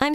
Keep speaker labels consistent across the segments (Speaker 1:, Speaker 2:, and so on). Speaker 1: I'm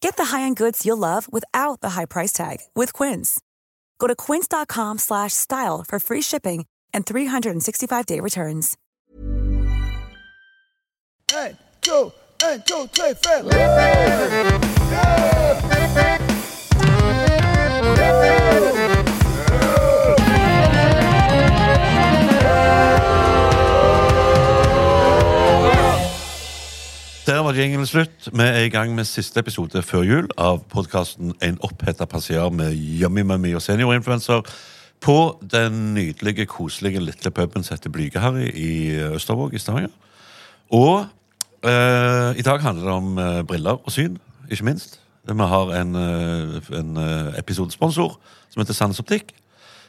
Speaker 2: Get the high-end goods you'll love without the high price tag with Quince. Go to quince.com/style slash style for free shipping and 365-day returns.
Speaker 3: En, to, en, to, tre, fem.
Speaker 4: Der var jinglen slutt. Vi er i gang med siste episode før jul av podkasten En oppheta passiar med Yummy Mummy og seniorinfluencer på den nydelige, koselige lille puben som heter Blygeharry i Østervåg i Stavanger. Og eh, i dag handler det om eh, briller og syn, ikke minst. Vi har en, eh, en eh, episodesponsor som heter Sands Optikk.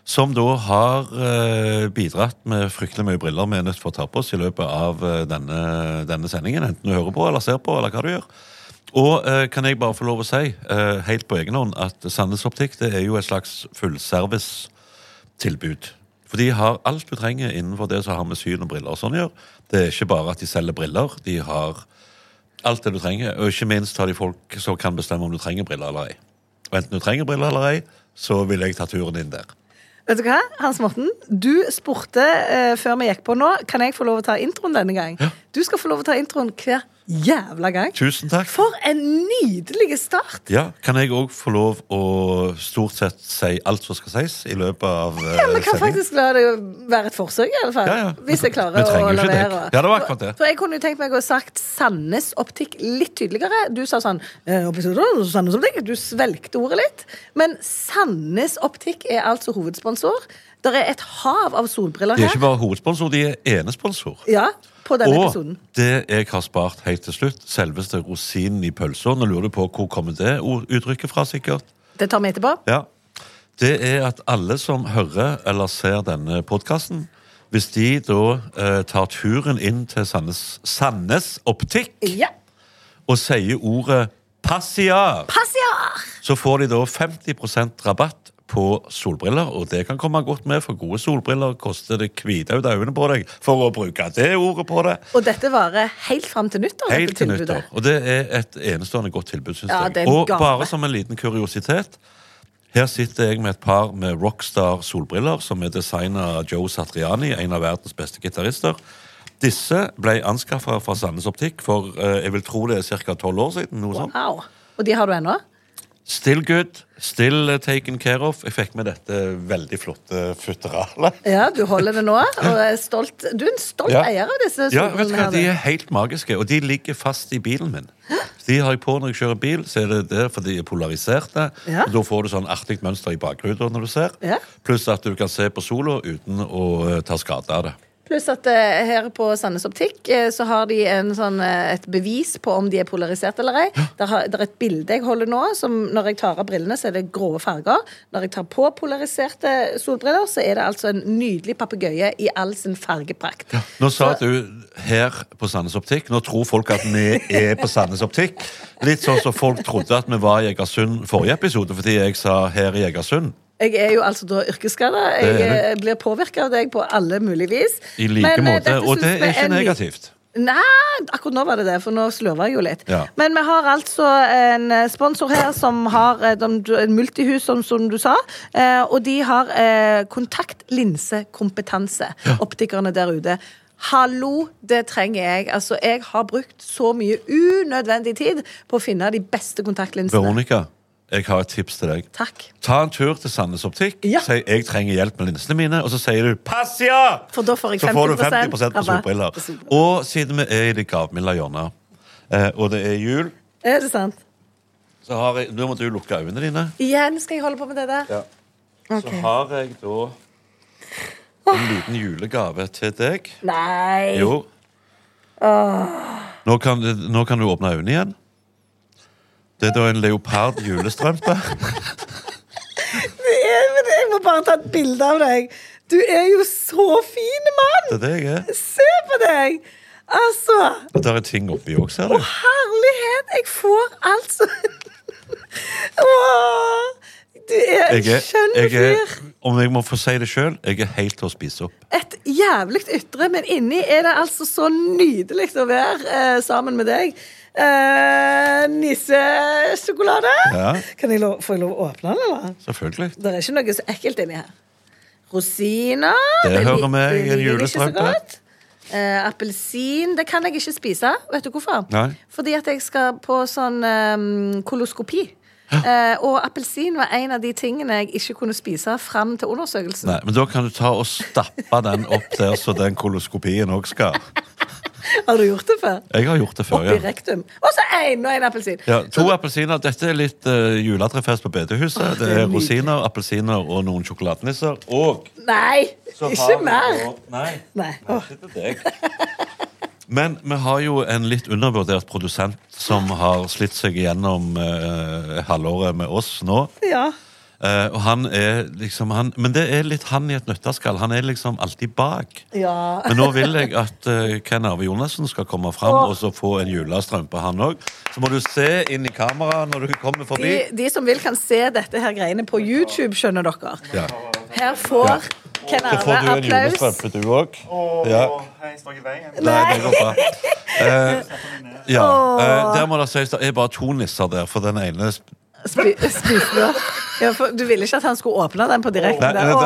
Speaker 4: Som da har eh, bidratt med fryktelig mye briller vi er nødt for å ta på oss i løpet av eh, denne, denne sendingen. Enten du hører på eller ser på, eller hva du gjør. Og eh, kan jeg bare få lov å si, eh, helt på egen hånd, at Sandnes Optikk det er jo et slags fullservice-tilbud. For de har alt du trenger innenfor det som har med syn og briller og sånn å gjøre. Det er ikke bare at de selger briller. De har alt det du trenger. Og ikke minst har de folk som kan bestemme om du trenger briller eller ei. Og enten du trenger briller eller ei, så vil jeg ta turen inn der.
Speaker 5: Vet du hva, Hans Morten, du spurte eh, før vi gikk på nå Kan jeg få lov å ta introen denne gang. Du skal få lov å ta introen hver jævla gang.
Speaker 4: Tusen takk.
Speaker 5: For en nydelig start!
Speaker 4: Ja, Kan jeg òg få lov å stort sett si alt som skal sies i løpet av eh,
Speaker 5: Ja, Vi kan
Speaker 4: sendingen?
Speaker 5: faktisk la det være et forsøk, i alle fall.
Speaker 4: Ja, ja.
Speaker 5: Hvis
Speaker 4: Vi
Speaker 5: jeg klarer
Speaker 4: trenger
Speaker 5: å
Speaker 4: jo ikke deg.
Speaker 5: levere.
Speaker 4: Ja, det var akkurat det.
Speaker 5: For jeg kunne jo tenkt meg å ha sagt Sandnes Optikk litt tydeligere. Du sa sånn eh, episoder, Sandnes Optikk. Du svelgte ordet litt. Men Sandnes Optikk er altså hovedsponsor. Det er et hav av solbriller
Speaker 4: De er ikke
Speaker 5: her.
Speaker 4: bare hovedsponsor, de er enesponsor.
Speaker 5: Ja, på denne
Speaker 4: Og
Speaker 5: episoden.
Speaker 4: det jeg har spart helt til slutt, selveste rosinen i pølsa Nå lurer du på hvor kommer det ord- uttrykket fra, sikkert.
Speaker 5: Det tar vi etterpå.
Speaker 4: Ja. Det er at alle som hører eller ser denne podkasten, hvis de da eh, tar turen inn til Sandnes, Sandnes Optikk
Speaker 5: Ja.
Speaker 4: og sier ordet 'passiar',
Speaker 5: Passiar!
Speaker 4: så får de da 50 rabatt på solbriller, og det kan komme godt med, for gode solbriller koster det hvite ut av øynene på deg for å bruke det ordet på det.
Speaker 5: Og dette varer helt fram til nyttår?
Speaker 4: Helt
Speaker 5: dette
Speaker 4: til
Speaker 5: tilbudet.
Speaker 4: nyttår. Og det er et enestående godt tilbud, syns
Speaker 5: Ja, det
Speaker 4: jeg.
Speaker 5: er en
Speaker 4: Og
Speaker 5: gave.
Speaker 4: bare som en liten kuriositet her sitter jeg med et par med rockstar solbriller som er designa av Joe Satriani, en av verdens beste gitarister. Disse ble anskaffa fra Sandnes Optikk for eh, jeg vil tro det er ca. tolv år siden. noe sånt.
Speaker 5: Wow. Og de har du ennå?
Speaker 4: Still good, still eh, taken care of. Jeg fikk med dette veldig flotte futteralet.
Speaker 5: Ja, du holder det nå. Og er stolt. Du er en stolt eier av disse
Speaker 4: ja, vet du hva,
Speaker 5: solbrillene.
Speaker 4: De
Speaker 5: her,
Speaker 4: er helt magiske, og de ligger fast i bilen min. De har jeg på når jeg kjører bil, så er det der, for de er polariserte.
Speaker 5: Ja.
Speaker 4: Og Da får du sånn artig mønster i bakruta når du ser.
Speaker 5: Ja.
Speaker 4: Pluss at du kan se på sola uten å eh, ta skade av det.
Speaker 5: du. Pluss at eh, her på Sandnes Optikk eh, så har de en sånn, eh, et bevis på om de er polarisert eller ei. Der, har, der er et bilde jeg holder nå. Som når jeg tar av brillene, så er det grå farger. Når jeg tar på polariserte solbriller, så er det altså en nydelig papegøye i all sin fargeprakt.
Speaker 4: Nå sa du her på Sandnes Optikk. Nå tror folk at vi er på Sandnes Optikk. Litt sånn som folk trodde at vi var i Egersund forrige episode, fordi jeg sa her i Egersund.
Speaker 5: Jeg er jo altså da yrkesskada.
Speaker 4: Det
Speaker 5: Jeg
Speaker 4: er
Speaker 5: eh, blir påvirka av deg på alle mulige vis.
Speaker 4: I like
Speaker 5: eh,
Speaker 4: måte.
Speaker 5: dette
Speaker 4: Og
Speaker 5: synes
Speaker 4: det
Speaker 5: vi
Speaker 4: er ikke
Speaker 5: en ny-
Speaker 4: negativt.
Speaker 5: Nei, akkurat nå var det det, for nå slurver jeg jo litt.
Speaker 4: Ja.
Speaker 5: Men vi har altså en eh, sponsor her som har eh, de, en multihus, som, som du sa. eh, Og de har eh, kontaktlinsekompetanse, optikerne der ute. Hallo, det trenger jeg. Altså, jeg har brukt så mye unødvendig tid på å finne de beste kontaktlinsene.
Speaker 4: Veronica, jeg har et tips til deg.
Speaker 5: Takk.
Speaker 4: Ta en tur til Sandnes Optikk.
Speaker 5: Ja.
Speaker 4: Si 'jeg trenger hjelp med linsene mine', og så sier du 'pass, ja'!
Speaker 5: For da får jeg
Speaker 4: så får du
Speaker 5: 50%
Speaker 4: 50 på
Speaker 5: rabatt
Speaker 4: solbriller.
Speaker 5: på solbriller.
Speaker 4: Og siden vi er i det gavmilde hjørnet, eh, og det er jul,
Speaker 5: Er det sant?
Speaker 4: så har jeg Nå må du lukke øynene dine.
Speaker 5: Igjen skal jeg holde på med det der.
Speaker 4: Så har jeg da en liten julegave til deg.
Speaker 5: Nei.
Speaker 4: Jo. Nå, kan, nå kan du åpne øynene igjen. Det er da en leopard julestrømpe.
Speaker 5: Det er, men jeg må bare ta et bilde av deg. Du er jo så fin,
Speaker 4: Det er
Speaker 5: mann!
Speaker 4: det jeg er.
Speaker 5: Se på deg! Altså,
Speaker 4: Og der er ting oppi òg, ser du.
Speaker 5: herlighet! Jeg får altså Åh, Du er en
Speaker 4: Jeg er,
Speaker 5: skjønn
Speaker 4: jeg er,
Speaker 5: fyr.
Speaker 4: om jeg må få si det sjøl, jeg er helt til å spise opp.
Speaker 5: Et jævlig ytre, men inni er det altså så nydelig å være eh, sammen med deg. Eh, Nissesjokolade.
Speaker 4: Ja.
Speaker 5: Kan jeg lov, får jeg lov å åpne den, eller?
Speaker 4: Selvfølgelig.
Speaker 5: Det er ikke noe så ekkelt inni her. Rosiner
Speaker 4: Det hører
Speaker 5: lik-
Speaker 4: med i en
Speaker 5: liker jeg eh, ikke så
Speaker 4: julestrømpe.
Speaker 5: godt. Eh, Appelsin Det kan jeg ikke spise. Vet du hvorfor?
Speaker 4: Nei.
Speaker 5: Fordi at jeg skal på sånn eh, koloskopi. Eh, og appelsin var en av de tingene jeg ikke kunne spise fram til undersøkelsen.
Speaker 4: Nei, men da kan du ta og stappe den opp der så den koloskopien òg skal.
Speaker 5: Har du gjort det før?
Speaker 4: Jeg har gjort det før,
Speaker 5: Oppi
Speaker 4: ja.
Speaker 5: rektum. Og så én og én appelsin.
Speaker 4: ja to appelsiner. Dette er litt uh, juletrefest på bedehuset. Det
Speaker 5: det er
Speaker 4: er
Speaker 5: nydelig.
Speaker 4: rosiner, appelsiner og noen sjokoladenisser. Og
Speaker 5: Nei,
Speaker 4: så har
Speaker 5: ikke
Speaker 4: vi
Speaker 5: mer.
Speaker 4: nå- Nei.
Speaker 5: Nei.
Speaker 4: Nei, ikke til deg. Men vi har jo en litt undervurdert produsent som har slitt seg igjennom eh, halvåret med oss nå.
Speaker 5: Ja.
Speaker 4: Eh, og han er liksom han, Men det er litt han i et nøtteskall. Han er liksom alltid bak.
Speaker 5: Ja.
Speaker 4: Men nå vil jeg at eh, Ken Arve Jonassen skal komme fram og så få en julestrømpe, han òg. Så må du se inn i kameraet når du kommer forbi.
Speaker 5: De, de som vil, kan se dette her greiene på YouTube, skjønner dere.
Speaker 4: Ja.
Speaker 5: Her får Ken
Speaker 4: Så får du
Speaker 5: Arve
Speaker 4: en
Speaker 5: applaus.
Speaker 4: julestrømpe, du òg. Ja.
Speaker 6: Hei, jeg står i veien.
Speaker 4: Nei, det går bra. Eh, ja. eh, der må det sies det er bare to nisser der, for den ene sp-
Speaker 5: Spi, spis den opp. Ja, for du ville ikke at han skulle åpne den på direkten?
Speaker 4: Nei,
Speaker 5: der.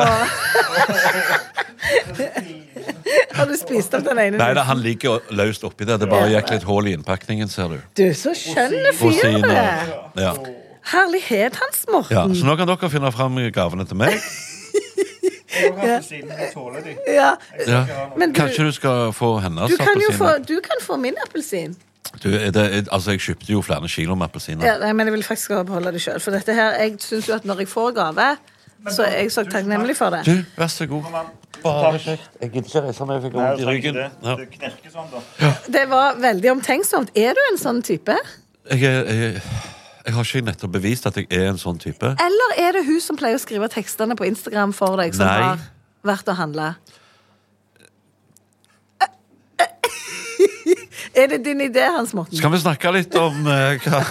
Speaker 4: det-
Speaker 5: Åh. Har du spist opp den ene?
Speaker 4: Nei, da, han ligger løst oppi der. Det bare gikk litt hull i innpakningen, ser du.
Speaker 5: Du, så skjønne fyr du er.
Speaker 4: Rosiner. Ja.
Speaker 5: Herlighet hans, Morten.
Speaker 4: Ja, så nå kan dere finne fram gavene til meg.
Speaker 6: Jeg går her på siden, jeg tåler de.
Speaker 5: Ja.
Speaker 4: Ja.
Speaker 5: Men du-
Speaker 4: Kanskje du skal få hennes
Speaker 5: Du kan jo få,
Speaker 4: appelsiner?
Speaker 5: du kan få min appelsin.
Speaker 4: Du, er det, er- altså, jeg kjøpte jo flere kilo med
Speaker 5: Ja,
Speaker 4: appelsiner.
Speaker 5: nei, men jeg vil faktisk beholde det sjøl. For dette her, jeg syns jo at når jeg får gave, så er jeg så takknemlig for det.
Speaker 4: Du, vær så god. Bare kjekt. Jeg gidder ikke reise meg, jeg fikk
Speaker 6: Nei,
Speaker 4: vondt
Speaker 6: du
Speaker 4: i
Speaker 6: trenger ikke
Speaker 4: ryggen.
Speaker 6: det.
Speaker 4: Ja.
Speaker 6: Du knerker sånn, da.
Speaker 5: Det var veldig omtenksomt. Er du en sånn type?
Speaker 4: Jeg, er- jeg, jeg har ikke nettopp bevist at jeg er en sånn type.
Speaker 5: Eller er det hun som pleier å skrive tekstene på Instagram for deg, som
Speaker 4: Nei.
Speaker 5: har vært og handla? Er det din idé, Hans Morten?
Speaker 4: Skal vi snakke litt om eh, hva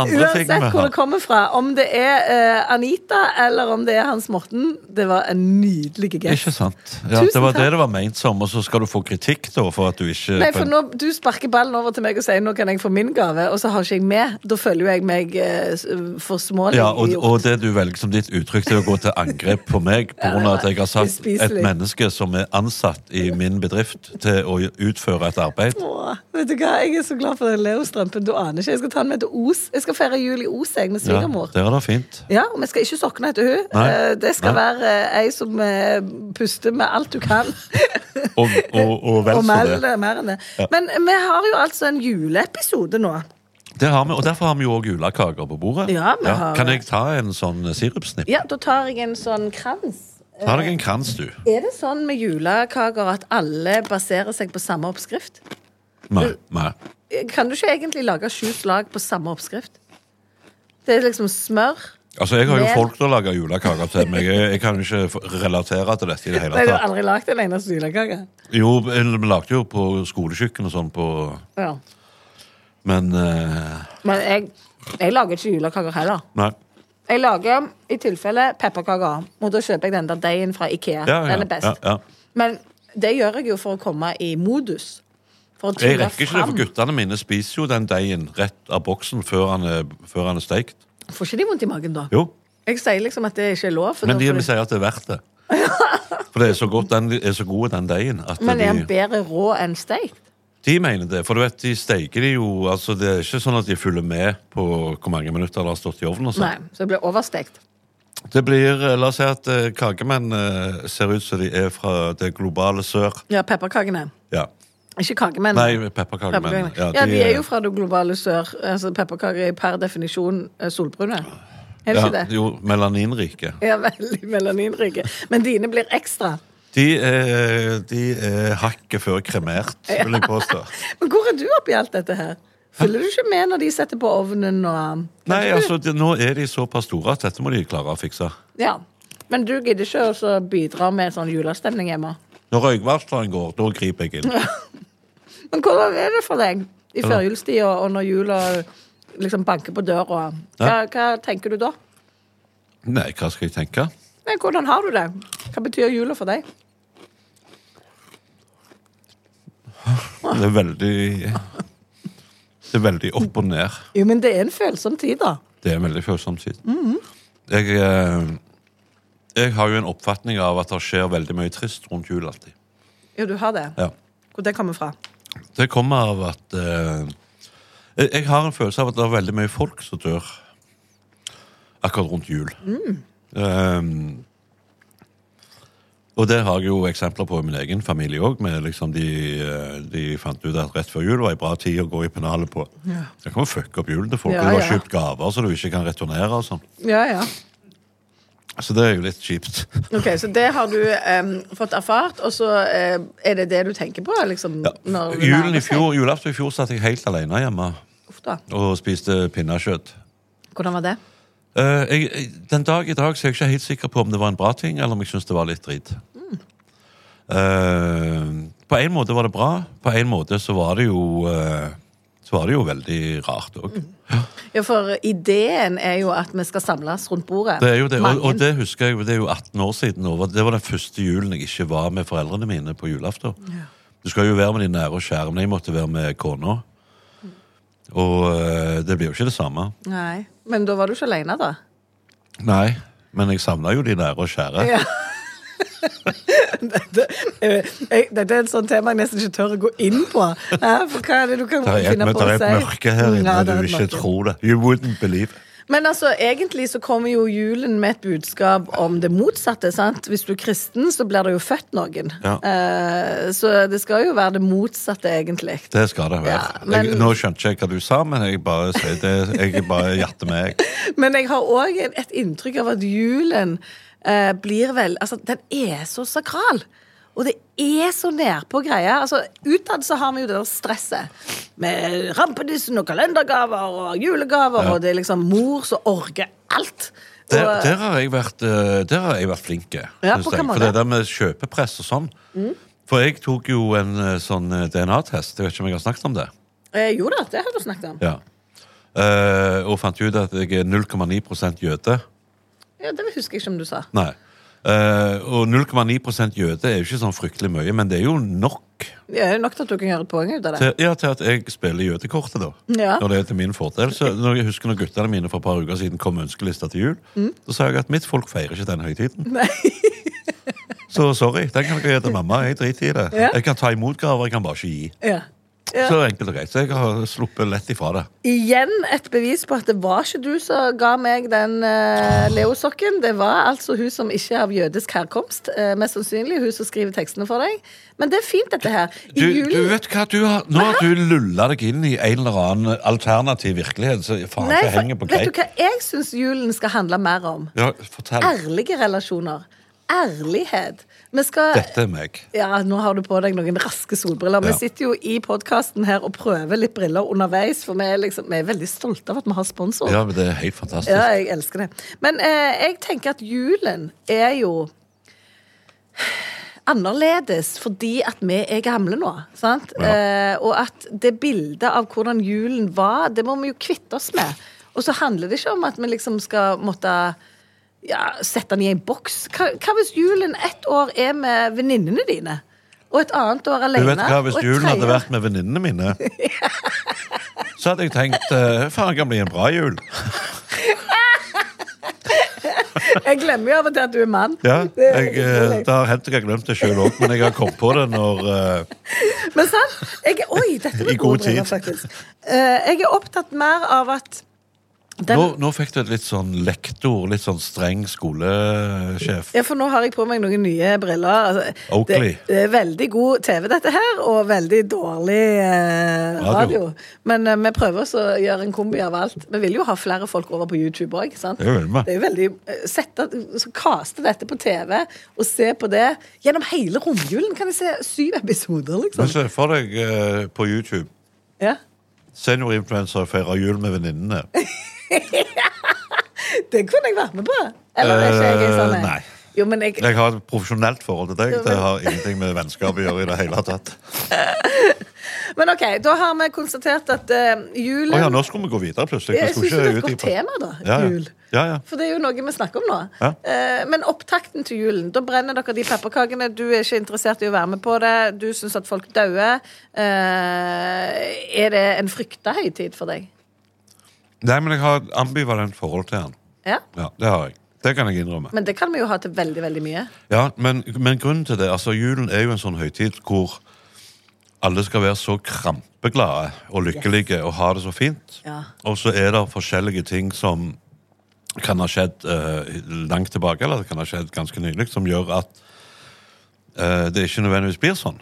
Speaker 4: andre ting
Speaker 5: Uansett
Speaker 4: vi
Speaker 5: hvor det
Speaker 4: har?
Speaker 5: kommer fra, om det er eh, Anita eller om det er Hans Morten, det var en nydelig gest.
Speaker 4: Ikke sant? Ja,
Speaker 5: Tusen
Speaker 4: det var det
Speaker 5: takk.
Speaker 4: det var ment som, og så skal du få kritikk da for at du ikke
Speaker 5: Nei, for nå, Du sparker ballen over til meg og sier nå kan jeg få min gave, og så har ikke jeg med. Da føler jo jeg meg eh, s- for smålig.
Speaker 4: Ja, og,
Speaker 5: i-
Speaker 4: og det du velger som ditt uttrykk til å gå til angrep på meg på grunn av at jeg har sagt et
Speaker 5: Uspiselig.
Speaker 4: menneske som er ansatt i min bedrift til å utføre et arbeid.
Speaker 5: Åh, vet du hva, Jeg er så glad for den Leo-strømpen. Du aner ikke. Jeg skal ta den med til Os. Jeg skal feire jul i Os jeg med
Speaker 4: Ja,
Speaker 5: svigermor.
Speaker 4: der er det fint.
Speaker 5: Ja, og vi skal ikke sokne etter hun.
Speaker 4: Nei.
Speaker 5: Eh, Det skal
Speaker 4: Nei.
Speaker 5: være eh, ei som eh, puster med alt du kan.
Speaker 4: Og, og, og vel
Speaker 5: og
Speaker 4: så
Speaker 5: mer,
Speaker 4: det.
Speaker 5: mer enn det. Men vi har jo altså en juleepisode nå.
Speaker 4: det har vi, og derfor har vi jo òg julekaker på bordet.
Speaker 5: Ja, vi har-
Speaker 4: Kan jeg ta en sånn sirupsnipp?
Speaker 5: Ja, Da tar jeg en sånn krans.
Speaker 4: Ta deg en krans, du.
Speaker 5: Er det sånn med julekaker at alle baserer seg på samme oppskrift?
Speaker 4: Nei, nei.
Speaker 5: Eh, Kan du ikke egentlig lage sju slag på samme oppskrift? Det er liksom smør.
Speaker 4: Altså, Jeg har jo
Speaker 5: Mel.
Speaker 4: folk til å lage julekaker til meg. Jeg, jeg kan jo ikke f- relatere til dette i det hele
Speaker 5: Nei, du har
Speaker 4: tatt.
Speaker 5: aldri lagd en eneste julekake.
Speaker 4: Jo, en- vi lagde jo på skolekjøkken og sånn på
Speaker 5: Ja.
Speaker 4: Men eh,
Speaker 5: Men jeg, jeg lager ikke julekaker heller.
Speaker 4: Nei.
Speaker 5: Jeg lager i tilfelle pepperkaker. Og da kjøper jeg den der deigen fra Ikea.
Speaker 4: Ja, ja,
Speaker 5: den er best.
Speaker 4: ja, ja.
Speaker 5: Men det gjør jeg jo for å komme i modus. For å
Speaker 4: Jeg
Speaker 5: tvinge
Speaker 4: rekker ikke det,
Speaker 5: fram.
Speaker 4: for guttene mine spiser jo den deigen rett av boksen før han er, før han er steikt.
Speaker 5: Får ikke de vondt i magen da?
Speaker 4: Jo,
Speaker 5: Jeg sier liksom at det ikke er lov. for
Speaker 4: men
Speaker 5: da
Speaker 4: de
Speaker 5: får du-
Speaker 4: sier at det er verdt det. For det er så godt, den er så god, den deigen. At
Speaker 5: men er den
Speaker 4: de,
Speaker 5: bedre rå enn steikt?
Speaker 4: de mener det. For du vet, de steiker de jo altså Det er ikke sånn at de følger med på hvor mange minutter det har stått i ovnen. og sånn.
Speaker 5: Nei, så det blir overstekt.
Speaker 4: Det blir, eh, La oss si at eh, kakemenn eh, ser ut som de er fra det globale sør.
Speaker 5: Ja, pepperkakene.
Speaker 4: Ja.
Speaker 5: Ikke kakemenn.
Speaker 4: Nei, pepperkakemenn.
Speaker 5: Pepperkakene. Ja, de, er jo fra det globale sør. Altså, Pepperkaker er per definisjon eh, solbrune. Er det
Speaker 4: ja,
Speaker 5: ikke det?
Speaker 4: Jo, melaninrike.
Speaker 5: Ja, veldig melaninrike. Men dine blir ekstra.
Speaker 4: De er, de er hakket før kremert, vil jeg påstå.
Speaker 5: Men hvor er du oppi alt dette her? Følger du ikke med når de setter på ovnen og
Speaker 4: Nei, altså, de, nå er de såpass store at dette må de klare å fikse.
Speaker 5: Ja. Men du gidder ikke å så bidra med sånn julestemning hjemme?
Speaker 4: Når røykvarsleren går, da griper jeg inn.
Speaker 5: Men hvordan er det for deg i førjulstida og når jula liksom banker på døra? Hva,
Speaker 4: Ja.
Speaker 5: hva tenker du da?
Speaker 4: Nei, hva skal jeg tenke?
Speaker 5: Nei, hvordan har du det? Hva betyr jula for deg?
Speaker 4: Det er veldig Det er veldig opp og ned.
Speaker 5: Jo, men det er en følsom tid, da.
Speaker 4: Det er en veldig følsom tid. Jeg eh, Jeg har jo en oppfatning av at det skjer veldig mye trist rundt jul alltid.
Speaker 5: Jo, du har det.
Speaker 4: Ja.
Speaker 5: Hvor det kommer fra.
Speaker 4: Det kommer av at eh, jeg, jeg har en følelse av at det er veldig mye folk som dør akkurat rundt jul.
Speaker 5: Mm.
Speaker 4: Ehm, og det har jeg jo eksempler på i min egen familie òg. Liksom de, eh, de fant ut at rett før jul var en bra tid å gå i pennalet på. Det kan jo fucke opp julen til folk.
Speaker 5: Ja,
Speaker 4: og Du har
Speaker 5: ja.
Speaker 4: kjøpt gaver så du ikke kan returnere. og sånn.
Speaker 5: Ja, ja.
Speaker 4: Så det er jo litt kjipt.
Speaker 5: Ok, Så det har du em, fått erfart, og så em, er det det du tenker på? liksom? når det
Speaker 4: Julen
Speaker 5: nærmer
Speaker 4: i
Speaker 5: seg?
Speaker 4: fjor, Julaften i fjor satt jeg helt alene hjemme
Speaker 5: Uff da.
Speaker 4: og spiste pinnekjøtt.
Speaker 5: Hvordan var det?
Speaker 4: Eh, jeg, jeg- den dag i dag så er jeg ikke helt sikker på om det var en bra ting, eller om jeg syns det var litt drit. Eh, på en måte var det bra, på en måte så var det jo eh, Så var det jo veldig rart òg.
Speaker 5: Mm. Ja, For ideen er jo at vi skal samles rundt bordet.
Speaker 4: Det er jo det, og,
Speaker 5: Mange.
Speaker 4: og det husker jeg, jo, det er jo 18 år siden. nå, og Det var den første julen jeg ikke var med foreldrene mine på julaften. Du skal jo være med de nære og kjære, men jeg måtte være med kona. Og eh, det blir jo ikke det samme.
Speaker 5: Nei, Men da var du ikke aleine, da?
Speaker 4: Nei, men jeg savna jo de nære og kjære.
Speaker 5: Ja. Dette, eh, jeg, dette er et sånt tema jeg nesten ikke tør å gå inn på. Ja, for hva er det du kan
Speaker 4: Det er et,
Speaker 5: finne på å
Speaker 4: der er
Speaker 5: si?
Speaker 4: et mørke her inne
Speaker 5: Ja, det er
Speaker 4: du
Speaker 5: et
Speaker 4: ikke
Speaker 5: mørke.
Speaker 4: tror det. You wouldn't believe.
Speaker 5: Men altså, egentlig så kommer jo julen med et budskap om det motsatte. sant? Hvis du er kristen, så blir det jo født noen.
Speaker 4: Ja.
Speaker 5: Eh, så det skal jo være det motsatte, egentlig.
Speaker 4: Det skal det være.
Speaker 5: Ja, men-
Speaker 4: jeg, nå skjønte ikke jeg hva du sa, men jeg bare sier det. Jeg bare hjerter meg.
Speaker 5: Men jeg har òg et inntrykk av at julen eh, blir vel Altså, den er så sakral. Og det er så nedpå greier. Altså, Utad så har vi jo det der stresset med rampenissen og kalendergaver og julegaver, og det er liksom mor som orker alt.
Speaker 4: Der,
Speaker 5: Og-
Speaker 4: der har jeg vært, eh, der har jeg vært flink. eh,
Speaker 5: Ja,
Speaker 4: synes
Speaker 5: på hva
Speaker 4: jeg.
Speaker 5: måte?
Speaker 4: For det der med kjøpepress og sånn.
Speaker 5: Mm.
Speaker 4: For jeg tok jo en eh, sånn eh, DNA-test. Jeg vet ikke om jeg har snakket om det.
Speaker 5: eh, jo da, det har du snakket om. Ja,
Speaker 4: Ja. Eh, og fant ut at jeg er 0,9 jøde.
Speaker 5: Det husker jeg ikke om du sa.
Speaker 4: Nei. Eh, og 0,9 jøde er jo ikke sånn fryktelig mye, men det er jo nok.
Speaker 5: Det er nok til at du kan gjøre et poeng ut av det.
Speaker 4: Til, ja, til at jeg spiller jødekortet, da.
Speaker 5: Ja.
Speaker 4: Når det er til min fordel. Så når jeg husker når guttene mine for et par uker siden kom med ønskelista til jul,
Speaker 5: Mm.
Speaker 4: så sa jeg at mitt folk feirer ikke den høytiden.
Speaker 5: Nei.
Speaker 4: Så sorry, den kan dere gi til mamma. Jeg driter i det.
Speaker 5: Ja.
Speaker 4: Jeg kan ta imot gaver, jeg kan bare ikke gi.
Speaker 5: Ja. Ja.
Speaker 4: Så enkelt og greit. Så jeg har sluppet lett ifra det.
Speaker 5: Igjen et bevis på at det var ikke du som ga meg den uh, Leo-sokken. Det var altså hun som ikke er av jødisk herkomst. eh, mest sannsynlig hun som skriver tekstene for deg. Men det er fint, dette her. I
Speaker 4: Du,
Speaker 5: julen
Speaker 4: du vet hva, du har, Nå har du lulla deg inn i en eller annen alternativ virkelighet. Så faen,
Speaker 5: Nei,
Speaker 4: det
Speaker 5: for,
Speaker 4: henger på
Speaker 5: Vet du
Speaker 4: greip.
Speaker 5: hva jeg syns julen skal handle mer om?
Speaker 4: Ja, fortell.
Speaker 5: Ærlige relasjoner. Ærlighet. Vi skal
Speaker 4: Dette er meg.
Speaker 5: Ja, nå har du på deg noen raske solbriller.
Speaker 4: Ja.
Speaker 5: Vi sitter jo i podkasten her og prøver litt briller underveis, for vi er, liksom, vi er veldig stolte av at vi har sponsor.
Speaker 4: Ja, men det er helt fantastisk.
Speaker 5: Ja, jeg elsker det. Men eh, jeg tenker at julen er jo annerledes fordi at vi er gamle nå. sant?
Speaker 4: Ja.
Speaker 5: Eh, og at det bildet av hvordan julen var, det må vi jo kvitte oss med. Og Og så handler det ikke om at vi liksom skal måtte ja, sette den i en boks. Hva, hva hvis julen ett år er med venninnene dine? Og et annet år
Speaker 4: Du
Speaker 5: alene?
Speaker 4: vet hva, Hvis
Speaker 5: og et
Speaker 4: julen hadde
Speaker 5: tredje-
Speaker 4: vært med venninnene mine, så hadde jeg tenkt uh, faen, det kan bli en bra jul.
Speaker 5: Jeg glemmer jo av og til at du er mann.
Speaker 4: Ja,
Speaker 5: Det er
Speaker 4: jeg, eh,
Speaker 5: utrolig.
Speaker 4: det har hendt jeg har glemt det sjøl òg, men jeg har kommet på det når eh,
Speaker 5: Men sant? Jeg, er- oi, dette var
Speaker 4: I god
Speaker 5: gode briller,
Speaker 4: tid.
Speaker 5: faktisk. Eh, jeg er opptatt mer av at den,
Speaker 4: nå, nå fikk du et litt sånn lektor, litt sånn streng skolesjef.
Speaker 5: Ja, for nå har jeg på meg noen nye briller. Altså,
Speaker 4: Oakley.
Speaker 5: Det, det er veldig god TV, dette her, og veldig dårlig eh, radio.
Speaker 4: Radio.
Speaker 5: Men eh, vi prøver også å gjøre en kombi av alt. Vi vil jo ha flere folk over på YouTube òg.
Speaker 4: Det vil vi.
Speaker 5: Det er jo veldig eh, sette, så Kaste dette på TV og se på det gjennom hele romjulen. Kan jeg se syv episoder,
Speaker 4: Men
Speaker 5: liksom?
Speaker 4: se for deg eh, på YouTube
Speaker 5: Ja.
Speaker 4: seniorinfluenser feirer jul med venninnene.
Speaker 5: Det kunne jeg vært med på. Eller er ikke jeg en sånn
Speaker 4: Eh,
Speaker 5: en?
Speaker 4: nei.
Speaker 5: Jo, men jeg,
Speaker 4: Jeg har et profesjonelt forhold til deg.
Speaker 5: Jo, men-
Speaker 4: Det har ingenting med vennskap å gjøre i det hele tatt.
Speaker 5: Men ok, da har vi konstatert at eh, julen
Speaker 4: Å ja, nå skulle vi gå videre plutselig. Vi
Speaker 5: Jeg
Speaker 4: skulle
Speaker 5: syns det er et
Speaker 4: ut i-
Speaker 5: godt tema, da.
Speaker 4: Ja, ja.
Speaker 5: Jul.
Speaker 4: Ja, ja.
Speaker 5: For det er jo noe vi snakker om nå.
Speaker 4: Ja.
Speaker 5: Eh, men opptakten til julen. Da brenner dere de pepperkakene. Du er ikke interessert i å være med på det. Du syns at folk dauer. Eh, er det en frykta høytid for deg?
Speaker 4: Nei, men jeg har et ambivalent forhold til han.
Speaker 5: Ja.
Speaker 4: Ja, det har jeg. Det kan jeg innrømme.
Speaker 5: Men det kan vi jo ha til veldig, veldig mye.
Speaker 4: Ja, men, men grunnen til det, altså julen er jo en sånn høytid hvor alle skal være så krampeglade og lykkelige og ha det så fint.
Speaker 5: Ja.
Speaker 4: Og så er det forskjellige ting som kan ha skjedd eh, langt tilbake, eller det kan ha skjedd ganske nylig, som gjør at eh, det ikke nødvendigvis blir sånn.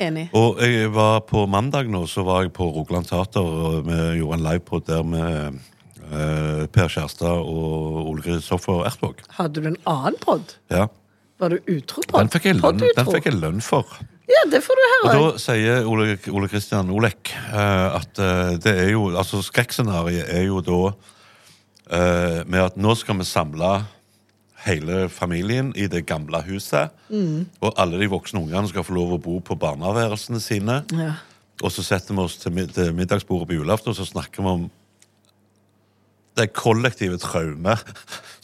Speaker 5: Enig.
Speaker 4: Og jeg var på mandag nå, så var jeg på Rogaland Teater, og vi gjorde en livepod der med eh, Per Kjærstad og Ole Kristoffer Ertvåg.
Speaker 5: Hadde du en annen pod?
Speaker 4: Ja.
Speaker 5: Var du utro på?
Speaker 4: Den fikk jeg lønn, den
Speaker 5: Podd-utro?
Speaker 4: fikk jeg lønn for.
Speaker 5: Ja, det får du
Speaker 4: Og
Speaker 5: høre.
Speaker 4: da sier Ole, Ole Christian Olek eh, at eh, det er jo Altså skrekkscenarioet er jo da eh, med at nå skal vi samle hele familien i det gamle huset.
Speaker 5: Mm.
Speaker 4: Og alle de voksne ungene skal få lov å bo på barneværelsene sine.
Speaker 5: Ja.
Speaker 4: Og så setter vi oss til, mid til middagsbordet på julaften og så snakker vi om det kollektive traumet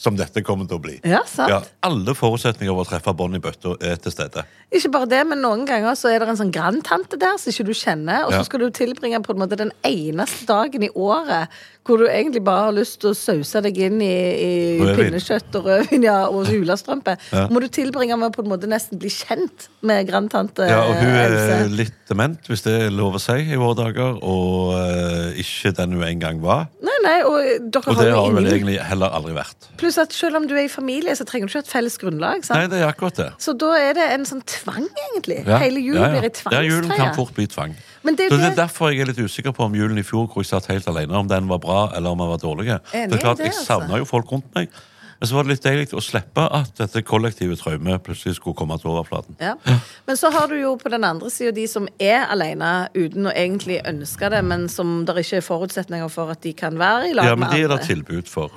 Speaker 4: som dette kommer til å bli.
Speaker 5: Ja, sant.
Speaker 4: Ja, alle forutsetninger for å treffe bånd i bøtta er til stede.
Speaker 5: Ikke bare det, men noen ganger så er det en sånn grandtante der som ikke du kjenner, og
Speaker 4: Ja.
Speaker 5: så skal du tilbringe på en måte den eneste dagen i året hvor du egentlig bare har lyst til å sause deg inn i, i
Speaker 4: Rødvin.
Speaker 5: pinnekjøtt og rødvin ja, og julestrømpe. Må du tilbringe med å på en måte nesten bli kjent med grandtante
Speaker 4: Ja, og hun er
Speaker 5: Else.
Speaker 4: litt dement, hvis det er lov å si, i våre dager. Og eh, ikke den hun en gang var.
Speaker 5: Nei, nei, og dere
Speaker 4: Og
Speaker 5: har
Speaker 4: det har
Speaker 5: jo
Speaker 4: hun vel
Speaker 5: ingen
Speaker 4: egentlig heller aldri vært.
Speaker 5: Pluss at selv om du er i familie, så trenger du ikke ha et felles grunnlag. sant?
Speaker 4: Nei, det er akkurat det.
Speaker 5: Så da er det en sånn tvang, egentlig.
Speaker 4: Ja,
Speaker 5: Hele julen
Speaker 4: ja, ja.
Speaker 5: blir en
Speaker 4: Ja, julen kan
Speaker 5: tvangstreie.
Speaker 4: fort bli tvang.
Speaker 5: Men det er
Speaker 4: Så det er
Speaker 5: det-
Speaker 4: derfor jeg er litt usikker på om julen i fjor hvor jeg satt helt alene, om den var bra eller om den var dårlig.
Speaker 5: Enig
Speaker 4: det er klart,
Speaker 5: i det,
Speaker 4: Jeg
Speaker 5: altså.
Speaker 4: savna jo folk rundt meg. Men så var det litt deilig å slippe at dette kollektive traumet plutselig skulle komme til overflaten.
Speaker 5: Ja. Men så har du jo på den andre sida de som er alene uten å egentlig ønske det, men som det ikke er forutsetninger for at de kan være i lag
Speaker 4: Ja, men
Speaker 5: med
Speaker 4: det er det
Speaker 5: andre.
Speaker 4: tilbud for.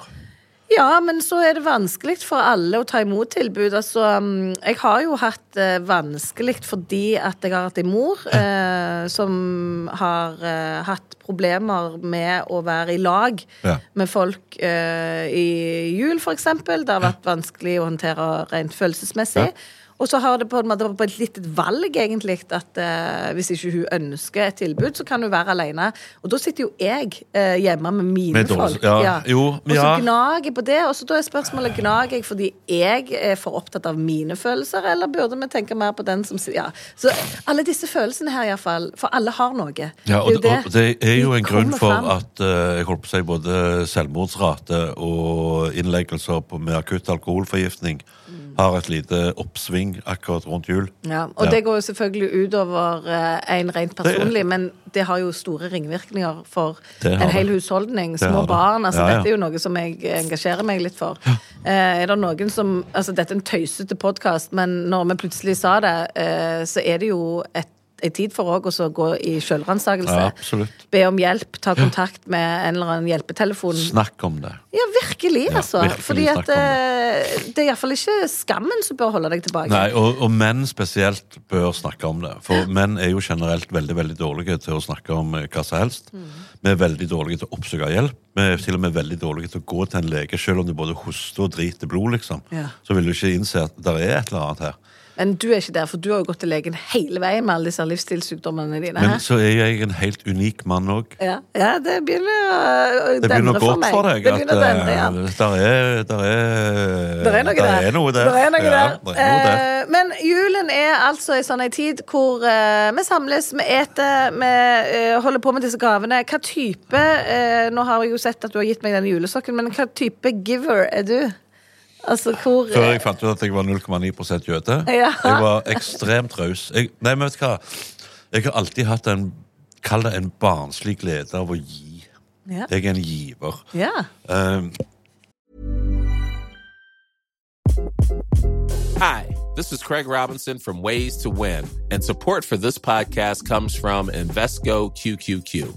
Speaker 5: Ja, men så er det vanskelig for alle å ta imot tilbud. Altså, um, jeg har jo hatt det vanskelig fordi at jeg har hatt en mor eh, som har eh, hatt problemer med å være i lag
Speaker 4: Ja.
Speaker 5: med folk eh, i jul, for eksempel. Det har vært vanskelig å håndtere rent følelsesmessig.
Speaker 4: Ja.
Speaker 5: Og så har det på en måte vært et lite valg, egentlig, at eh, hvis ikke hun ønsker et tilbud, så kan hun være alene. Og da sitter jo jeg eh, hjemme med mine
Speaker 4: Med dårlig-
Speaker 5: folk.
Speaker 4: ja. Jo,
Speaker 5: og så
Speaker 4: ja.
Speaker 5: gnager jeg på det, og så da er spørsmålet gnager jeg fordi jeg er for opptatt av mine følelser, eller burde vi tenke mer på den som sier ja. Så alle disse følelsene her, iallfall. For alle har noe.
Speaker 4: Ja, og,
Speaker 5: jo
Speaker 4: og det er jo
Speaker 5: De
Speaker 4: en grunn
Speaker 5: kommer
Speaker 4: for
Speaker 5: fram.
Speaker 4: at eh, jeg holdt på å si både selvmordsrate og innleggelser på, med akutt alkoholforgiftning har et lite oppsving akkurat rundt jul.
Speaker 5: Mm. Ja, og
Speaker 4: Ja.
Speaker 5: det går jo selvfølgelig utover eh, en rent personlig, men det har jo store ringvirkninger for
Speaker 4: Det har
Speaker 5: en hel
Speaker 4: det.
Speaker 5: husholdning.
Speaker 4: Det har
Speaker 5: Små
Speaker 4: det.
Speaker 5: barn. altså
Speaker 4: Ja, ja.
Speaker 5: Dette er jo noe som jeg engasjerer meg litt for. Eh, er det noen som, altså Dette er en tøysete podkast, men når vi plutselig sa det, eh, så er det jo et er tid for òg å gå i sjølransakelse.
Speaker 4: Ja, absolutt.
Speaker 5: Be om hjelp, ta kontakt med en eller annen hjelpetelefon.
Speaker 4: Snakk om det.
Speaker 5: Ja, virkelig,
Speaker 4: Ja,
Speaker 5: altså.
Speaker 4: virkelig
Speaker 5: Fordi at
Speaker 4: snakk om
Speaker 5: eh, det er iallfall ikke skammen som bør holde deg tilbake.
Speaker 4: Nei, og, og menn spesielt bør snakke om det. For menn er jo generelt veldig veldig dårlige til å snakke om eh, hva som helst.
Speaker 5: Mm.
Speaker 4: Vi er veldig dårlige til å oppsøke hjelp. Vi er til og med veldig dårlige til å gå til en lege, selv om du både hoster og driter blod. liksom.
Speaker 5: Ja.
Speaker 4: Så vil du ikke innse at det er et eller annet her.
Speaker 5: Men du er ikke der, for du har jo gått til legen hele veien med alle disse livsstilssykdommene dine.
Speaker 4: Men
Speaker 5: hæ?
Speaker 4: så er jeg en helt unik mann òg.
Speaker 5: Ja, ja, det begynner å
Speaker 4: Det begynner å gå opp for deg
Speaker 5: Det
Speaker 4: at
Speaker 5: begynner å dendre, ja.
Speaker 4: eh, der er Der er,
Speaker 5: Det er noe der.
Speaker 4: er noe der.
Speaker 5: Der er noe
Speaker 4: ja,
Speaker 5: der.
Speaker 4: der er noe der.
Speaker 5: Eh, men julen er altså en sånn en tid hvor eh, vi samles, vi eter, vi eh, holder på med disse gavene. Hva type eh, Nå har jeg jo sett at du har gitt meg denne julesokken, men hva type giver er du? Altså hvor
Speaker 4: Før jeg fant ut at jeg var 0,9 jøde.
Speaker 5: Ja.
Speaker 4: Jeg var ekstremt raus. Jeg, nei, men vet du hva? Jeg har alltid hatt en Kall det en barnslig glede av å gi.
Speaker 5: Ja.
Speaker 4: Jeg er en giver.
Speaker 5: ja.
Speaker 4: Um,
Speaker 7: Hi, this is Craig Robinson from Ways to Win, and support for this podcast comes from Invesco QQQ.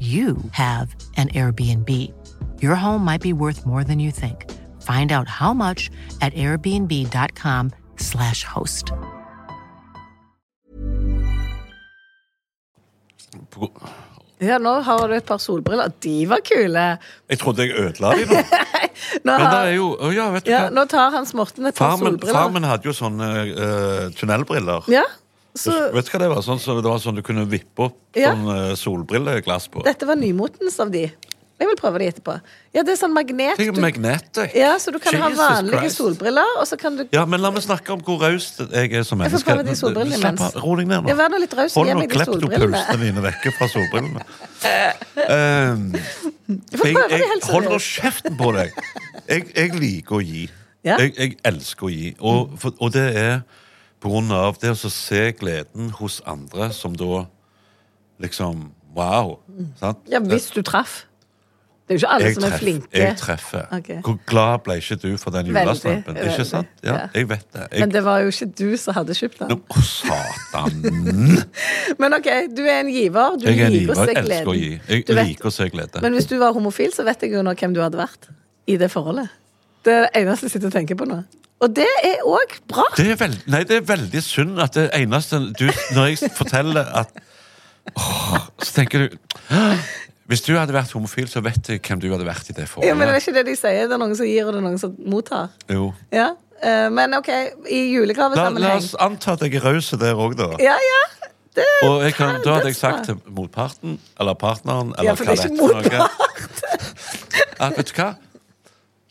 Speaker 8: you have an Airbnb. Your home might be worth more than you think. Find out how much at airbnb.com/slash host.
Speaker 5: ja, nå har du et par solbriller. De var kule!
Speaker 4: jeg trodde jeg ødela dem nå.
Speaker 5: Nå,
Speaker 4: Men det er
Speaker 5: har,
Speaker 4: jo Å ja, vet du
Speaker 5: ja,
Speaker 4: hva.
Speaker 5: nå tar Hans Morten et par
Speaker 4: Far min, far
Speaker 5: solbriller.
Speaker 4: min hadde jo sånne eh, tunnelbriller.
Speaker 5: Ja, så
Speaker 4: Vet du hva det var? Sånn, så det var sånn du kunne vippe opp
Speaker 5: Ja.
Speaker 4: sånn eh, solbrilleglass på.
Speaker 5: dette var nymotens av de. Jeg vil prøve de etterpå. Ja, det er sånn magnet.
Speaker 4: Tenk
Speaker 5: du-
Speaker 4: magnetic.
Speaker 5: Ja, så du kan ha
Speaker 4: Jesus
Speaker 5: vanlige
Speaker 4: Christ.
Speaker 5: solbriller, og så kan du
Speaker 4: Ja, men la meg snakke om hvor raus jeg er som
Speaker 5: Jeg får
Speaker 4: menneske.
Speaker 5: prøve de solbrillene
Speaker 4: Slapp
Speaker 5: imens.
Speaker 4: av, Ro deg ned nå.
Speaker 5: Ja, vær nå litt raus,
Speaker 4: Hold
Speaker 5: gi
Speaker 4: nå
Speaker 5: meg de solbrillene.
Speaker 4: kleptopulsene dine vekke fra solbrillene. Ehm,
Speaker 5: får
Speaker 4: jeg,
Speaker 5: prøve det
Speaker 4: jeg
Speaker 5: helt seriøst.
Speaker 4: holder kjeften på deg. Jeg, jeg liker å gi.
Speaker 5: Ja.
Speaker 4: Jeg, jeg elsker å gi. Og, for, og det er på grunn av det å så se gleden hos andre som da liksom Wow. Sant?
Speaker 5: Ja, hvis du traff. Det er jo ikke alle
Speaker 4: jeg
Speaker 5: som er
Speaker 4: treff-
Speaker 5: flinke.
Speaker 4: Jeg treffer.
Speaker 5: Ok.
Speaker 4: Hvor glad ble ikke du for den
Speaker 5: Veldig,
Speaker 4: julesnappen? Ikke
Speaker 5: veldig.
Speaker 4: sant? Ja,
Speaker 5: Ja.
Speaker 4: jeg vet det. Jeg
Speaker 5: Men det var jo ikke du som hadde kjøpt den.
Speaker 4: Nå, Å, satan!
Speaker 5: Men ok, du er en giver. Du
Speaker 4: Jeg er en
Speaker 5: liker
Speaker 4: giver.
Speaker 5: å se
Speaker 4: Jeg elsker å
Speaker 5: gleden.
Speaker 4: gi. Jeg
Speaker 5: Du vet-
Speaker 4: liker å se glede.
Speaker 5: Men hvis du var homofil, så vet jeg jo nå hvem du hadde vært i det forholdet. Det er det eneste jeg sitter og tenker på nå. Og det er òg bra.
Speaker 4: Det er, veld, nei, det er veldig synd at det eneste du, Når jeg forteller at åh, Så tenker du «Åh, Hvis du hadde vært homofil, så vet jeg hvem du hadde vært i det
Speaker 5: Ja, men det er
Speaker 4: forholdet.
Speaker 5: ikke det de sier. Det er noen som gir, og det er noen som mottar.
Speaker 4: Jo.
Speaker 5: Ja, eh, Men ok, i
Speaker 4: La, la
Speaker 5: julegavesammenheng
Speaker 4: oss anta at jeg er raus der òg, da.
Speaker 5: Ja, ja. Det
Speaker 4: Og jeg kan, da hadde jeg
Speaker 5: dødsbra.
Speaker 4: sagt til motparten, eller partneren, eller
Speaker 5: Ja, for
Speaker 4: hva
Speaker 5: det er
Speaker 4: det heter for
Speaker 5: ikke
Speaker 4: noe
Speaker 5: motpart.
Speaker 4: at, Vet du hva?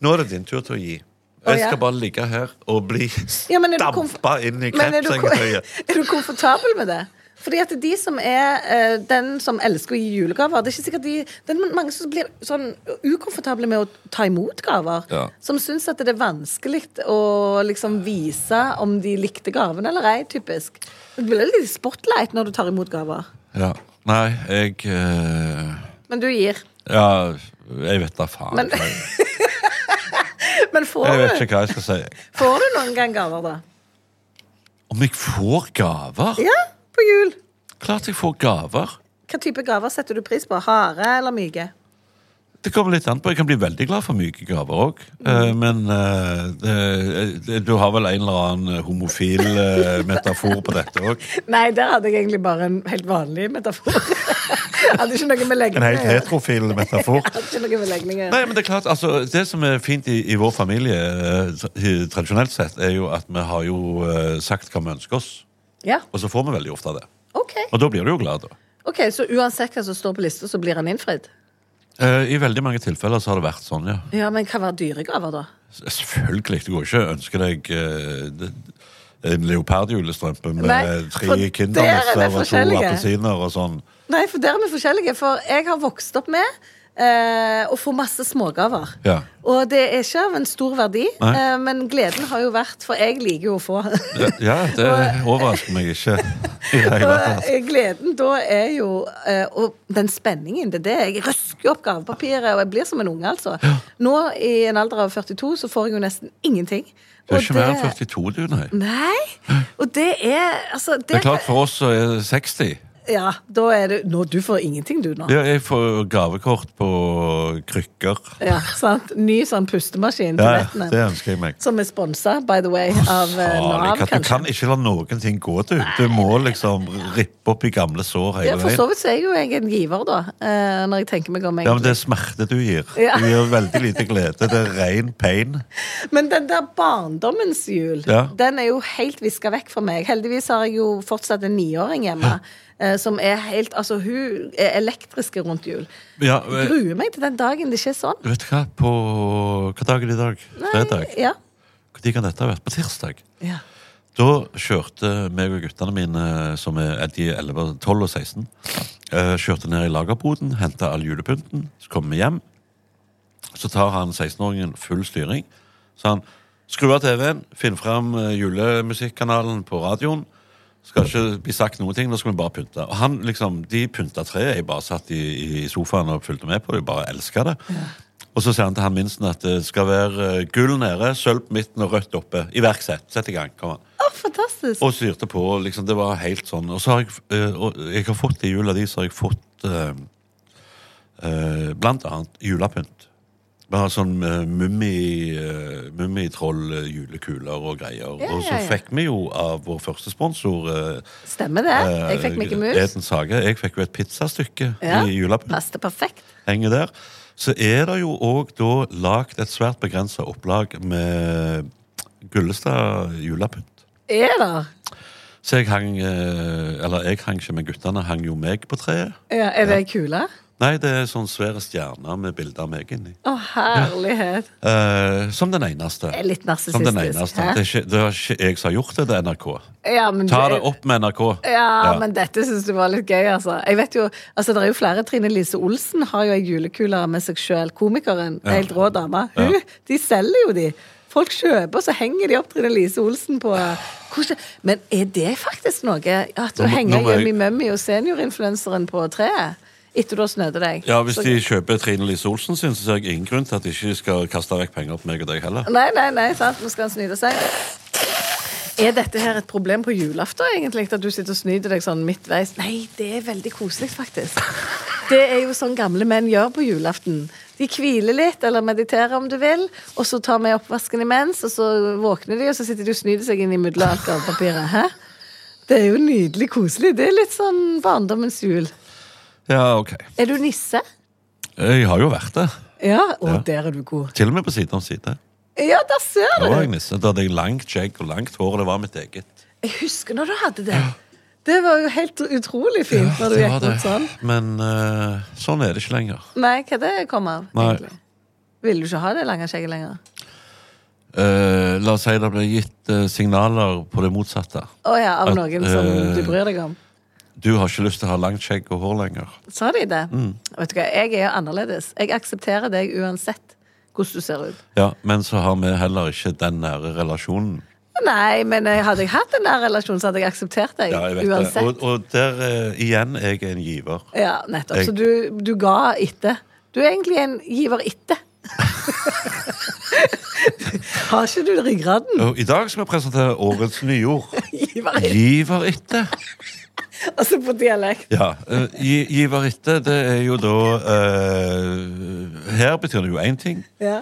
Speaker 4: Nå er det din tur til å gi.
Speaker 5: Å,
Speaker 4: Jeg
Speaker 5: ja.
Speaker 4: skal bare ligge her og bli
Speaker 5: Ja, men er du komf-
Speaker 4: dampa inn i
Speaker 5: Men er du,
Speaker 4: krepsengetøyet.
Speaker 5: er du komfortabel med det? Fordi at de som er eh, den som elsker å gi julegaver Det er ikke sikkert de Det er mange som blir sånn ukomfortable med å ta imot gaver.
Speaker 4: Ja.
Speaker 5: Som syns at det er vanskelig å liksom vise om de likte gaven eller ei, typisk. Du blir litt spotlight når du tar imot gaver.
Speaker 4: Ja. Nei, jeg eh,
Speaker 5: Men du gir.
Speaker 4: Ja, jeg vet da faen.
Speaker 5: Men-
Speaker 4: jeg,
Speaker 5: Men
Speaker 4: jeg
Speaker 5: får
Speaker 4: vet
Speaker 5: du,
Speaker 4: ikke hva jeg skal si.
Speaker 5: får du noen gang gaver, da?
Speaker 4: Om jeg får gaver?
Speaker 5: Ja, på jul.
Speaker 4: Klart jeg får gaver.
Speaker 5: Hva type gaver setter du pris på? Harde eller myke?
Speaker 4: Det kommer litt an på. Jeg kan bli veldig glad for myke gaver òg. Men eh, det, det, du har vel en eller annen homofil eh, metafor på dette òg?
Speaker 5: Nei, der hadde jeg egentlig bare en helt vanlig metafor. Hadde ikke noe med legning
Speaker 4: En helt heterofil metafor.
Speaker 5: Hadde ikke noe med legning å gjøre.
Speaker 4: Nei, men Det er klart, altså, det som er fint i, i vår familie, eh, tra- tradisjonelt sett, er jo at vi har jo eh, sagt hva vi ønsker oss.
Speaker 5: Ja,
Speaker 4: Og så får vi veldig ofte av det.
Speaker 5: ok.
Speaker 4: Og da blir du jo glad, da.
Speaker 5: ok, Så uansett hva som står på lista, så blir han innfridd?
Speaker 4: Eh, I veldig mange tilfeller så har det vært sånn, ja.
Speaker 5: Ja, men hva var dyregaver, da?
Speaker 4: S- Selvfølgelig. Du går ikke og ønsker deg eh, det- en leopardjulestrømpe med
Speaker 5: Nei, for
Speaker 4: tre
Speaker 5: der er
Speaker 4: Kindermusser
Speaker 5: det
Speaker 4: og to
Speaker 5: forskjellige.
Speaker 4: appelsiner og sånn.
Speaker 5: Nei, for der er vi forskjellige. For jeg har vokst opp med eh, å få masse smågaver.
Speaker 4: Ja.
Speaker 5: Og det er ikke av en stor verdi,
Speaker 4: Nei.
Speaker 5: eh, men gleden har jo vært For jeg liker jo å få.
Speaker 4: Ja, det overrasker meg ikke i det hele
Speaker 5: Og
Speaker 4: tatt.
Speaker 5: eh, gleden da er jo eh, Og den spenningen, det er det. Jeg røsker opp gavepapiret, og jeg blir som en unge, altså. Nå i en alder av 42 så får jeg jo nesten ingenting.
Speaker 4: Du er
Speaker 5: Og
Speaker 4: ikke mer enn
Speaker 5: det-
Speaker 4: 42, du, nei.
Speaker 5: Nei. Og det er Altså,
Speaker 4: Det
Speaker 5: det
Speaker 4: er klart, for oss så er det 60.
Speaker 5: Ja, da er det Nå, du får ingenting, du, nå.
Speaker 4: Ja, jeg får gavekort på krykker.
Speaker 5: Ja, sant? Ny sånn pustemaskin til
Speaker 4: Ja,
Speaker 5: vettene.
Speaker 4: det ønsker jeg meg.
Speaker 5: Som er sponsa, by the way, av eh,
Speaker 4: Farlig,
Speaker 5: Nav,
Speaker 4: at du
Speaker 5: kanskje.
Speaker 4: kan ikke la noen ting gå, du. Du må liksom rippe opp i gamle sår
Speaker 5: Ja,
Speaker 4: hele
Speaker 5: for så
Speaker 4: veien.
Speaker 5: vidt så er jo jeg en giver, da, eh, når jeg tenker meg
Speaker 4: Ja, men
Speaker 5: om. egentlig.
Speaker 4: Det er smerte du gir.
Speaker 5: Ja.
Speaker 4: Du gir veldig lite glede. Det er ren pain.
Speaker 5: Men den der barndommens jul,
Speaker 4: Ja.
Speaker 5: den er jo helt viska vekk for meg. Heldigvis har jeg jo fortsatt en niåring hjemme. eh, Som er helt Altså, hun er elektriske rundt jul.
Speaker 4: Ja,
Speaker 5: Jeg
Speaker 4: eh,
Speaker 5: gruer meg til den dagen det ikke er sånn.
Speaker 4: vet du hva? På hva dag er det i dag? Fredag?
Speaker 5: Ja.
Speaker 4: Når kan dette ha vært? På tirsdag?
Speaker 5: ja.
Speaker 4: Da kjørte meg og guttene mine, som er er de er 11, og 12 og 16, eh, kjørte ned i lagerboden, henta all julepynten, så kom vi hjem. Så tar han 16-åringen full styring. Så han skrur av TV-en, finner fram eh, julemusikkanalen på radioen. Skal ikke bli sagt noen ting, nå skal vi bare pynte. Og han liksom, De pynta treet. Jeg bare satt i, i sofaen og fulgte med på det. Jeg bare elska det. Og så sier han til han minsten at det skal være eh, gull nede, sølv på midten og rødt oppe. Iverksett. Sett i gang. kom an.
Speaker 5: Å, fantastisk.
Speaker 4: Og styrte på. liksom, Det var helt sånn. Og så har jeg, eh, og jeg har fått i jula di, så har jeg fått eh, eh, blant annet julepynt. Bare sånn eh, mummi, eh, mummitroll, eh, julekuler og greier.
Speaker 5: Ja,
Speaker 4: Og så
Speaker 5: ja, ja.
Speaker 4: fikk vi jo av vår første sponsor eh,
Speaker 5: Stemmer det. Jeg fikk Mikke Mus.
Speaker 4: Eden Sage. Jeg fikk jo et pizzastykke
Speaker 5: Ja.
Speaker 4: i julapynt.
Speaker 5: Passet perfekt.
Speaker 4: Henger der. Så er det jo òg da lagd et svært begrensa opplag med Gullestad julepynt.
Speaker 5: Er det?
Speaker 4: Så jeg hang eh, Eller jeg hang ikke med guttene, hang jo meg på treet.
Speaker 5: Ja, er det kule?
Speaker 4: Nei, det er sånn svære stjerner med bilder av meg inni.
Speaker 5: Å, herlighet.
Speaker 4: Eh, som den eneste.
Speaker 5: Det er litt
Speaker 4: Som den
Speaker 5: narsissistisk,
Speaker 4: eneste.
Speaker 5: hæ?
Speaker 4: Det er ikke, det er ikke jeg som har gjort det, det er NRK.
Speaker 5: Ja, men
Speaker 4: Ta
Speaker 5: du-
Speaker 4: det opp med NRK.
Speaker 5: Ja, men dette syns du var litt gøy, altså. Jeg vet jo, altså Det er jo flere. Trine Lise Olsen har jo ei julekule med seg sjøl. Komikeren.
Speaker 4: Ja.
Speaker 5: Helt rå dame. Hun,
Speaker 4: Ja.
Speaker 5: De selger jo de. Folk kjøper, så henger de opp Trine Lise Olsen på Hvordan- Men er det faktisk noe? At du
Speaker 4: Nå må-
Speaker 5: henger
Speaker 4: nå må jeg-
Speaker 5: Yummy Mummy og seniorinfluenseren på treet etter du har snødd deg?
Speaker 4: Ja, Hvis
Speaker 5: Så-
Speaker 4: de kjøper Trine Lise Olsen sin, så ser jeg ingen grunn til at de ikke skal kaste vekk penger på meg og deg heller.
Speaker 5: Nei, nei, nei, sant? Nå skal han snyte seg. Er dette her et problem på julaften, egentlig? At du sitter og snyter deg sånn midtveis? Nei, det er veldig koselig, faktisk. Det er jo sånn gamle menn gjør på julaften. De hviler litt, eller mediterer om du vil, og så tar vi oppvasken imens, og så våkner de, og så sitter de og snyter seg inn imellom alt gavepapiret. Hæ? Det er jo nydelig koselig. Det er litt sånn barndommens jul.
Speaker 4: Ja, ok.
Speaker 5: Er du nisse?
Speaker 4: Jeg har jo vært det.
Speaker 5: Ja? Å,
Speaker 4: Ja.
Speaker 5: der er du god.
Speaker 4: Til og med på side om side.
Speaker 5: Ja, der ser
Speaker 4: Da
Speaker 5: du!
Speaker 4: var jeg nisse. Da hadde jeg langt skjegg og langt hår, og det var mitt eget.
Speaker 5: Jeg husker når du hadde det. Det var jo helt utrolig fint når du
Speaker 4: Det
Speaker 5: gikk
Speaker 4: var
Speaker 5: rundt
Speaker 4: det.
Speaker 5: sånn.
Speaker 4: Men eh, sånn er det ikke lenger.
Speaker 5: Nei, hva det kom av?
Speaker 4: Nei.
Speaker 5: egentlig? Ville du ikke ha det lange skjegget lenger?
Speaker 4: Eh, la oss si det ble gitt eh, signaler på det motsatte.
Speaker 5: Å ja, av
Speaker 4: At,
Speaker 5: noen som
Speaker 4: eh,
Speaker 5: du bryr deg om.
Speaker 4: Du har ikke lyst til å ha langt skjegg og hår lenger.
Speaker 5: Sa de det?
Speaker 4: Mm.
Speaker 5: Vet du hva, jeg er jo annerledes. Jeg aksepterer deg uansett hvordan du ser ut.
Speaker 4: Ja, Men så har vi heller ikke den nære relasjonen.
Speaker 5: Nei, men jeg- hadde jeg hatt en nær relasjon, så hadde jeg akseptert deg
Speaker 4: Ja, jeg vet
Speaker 5: uansett.
Speaker 4: det. Og, og der eh, igjen jeg er en giver.
Speaker 5: Ja, nettopp.
Speaker 4: Jeg-
Speaker 5: Så du, du ga etter. Du er egentlig en giver etter. Har ikke du ryggraden?
Speaker 4: Og I dag skal vi presentere årets nyord.
Speaker 5: Giver etter.
Speaker 4: Giver etter.
Speaker 5: Altså på dialekt.
Speaker 4: Ja, eh, gi, giver etter, det er jo da eh, Her betyr det jo én ting.
Speaker 5: Ja.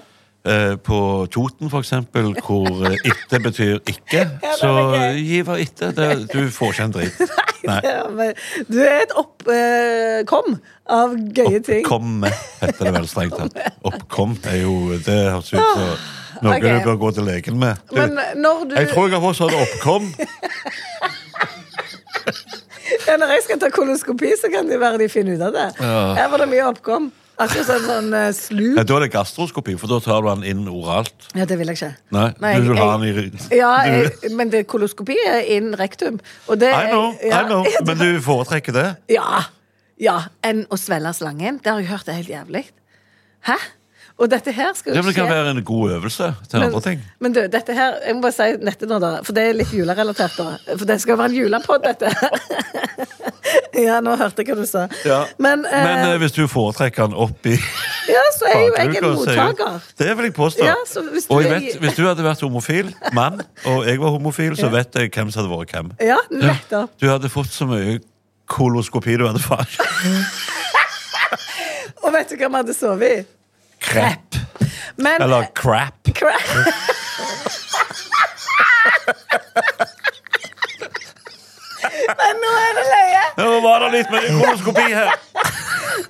Speaker 4: eh, på Toten, for eksempel, hvor eh, etter betyr ikke. Så gi hva etter. Det- Du får ikke en dritt. Nei.
Speaker 5: Ja, men Du er et oppkom av gøye ting.
Speaker 4: Oppkomme heter det vel strengt tatt. Oppkom er jo Det høres ut som noe
Speaker 5: Ok.
Speaker 4: du bør gå til legen med. Du,
Speaker 5: Men eh, når du
Speaker 4: jeg tror jeg har fått sånn oppkom.
Speaker 5: ja, Når jeg skal ta koloskopi, så kan det være de finner ut av det.
Speaker 4: Ja.
Speaker 5: Her var det mye oppkom. Akkurat sånn, sånn eh,
Speaker 4: Ja,
Speaker 5: slup.
Speaker 4: da er det gastroskopi, for da tar du den inn oralt.
Speaker 5: Ja, det vil jeg ikke.
Speaker 4: Nei,
Speaker 5: Nei,
Speaker 4: du vil ha den i
Speaker 5: jeg-
Speaker 4: ryggen.
Speaker 5: Ja, eh, jeg, men det koloskopi er in rectum. Og det
Speaker 4: I know,
Speaker 5: ja,
Speaker 4: I know. Men du foretrekker det?
Speaker 5: Ja. ja Enn å svelge slangen. Det har jeg hørt er helt jævlig. Hæ? Og dette her skal
Speaker 4: Ja,
Speaker 5: jo
Speaker 4: men Det kan
Speaker 5: skje-
Speaker 4: være en god øvelse til andre ting.
Speaker 5: Men du, dette her, jeg må bare si nettet nå da For det er litt julerelatert da For det skal være en julepodd dette Ja, nå hørte jeg hva du sa Men, eh,
Speaker 4: Men, eh, hvis du foretrekker den opp i
Speaker 5: ja, så er jo jeg en
Speaker 4: bakluka, så er jo-
Speaker 5: mottaker
Speaker 4: Det vil jeg påstå.
Speaker 5: Ja, så hvis du
Speaker 4: og jeg
Speaker 5: er-
Speaker 4: vet, hvis du hadde vært homofil mann, og jeg var homofil, så vet jeg hvem som hadde vært hvem.
Speaker 5: Ja, nettopp
Speaker 4: Du hadde fått så mye koloskopi du hadde fått.
Speaker 5: Og vet du hva vi hadde sovet i?
Speaker 4: Krepp.
Speaker 5: Men,
Speaker 4: Eller crap.
Speaker 5: Crap. Men nå er det løye
Speaker 4: Nå var det litt mer koloskopi her.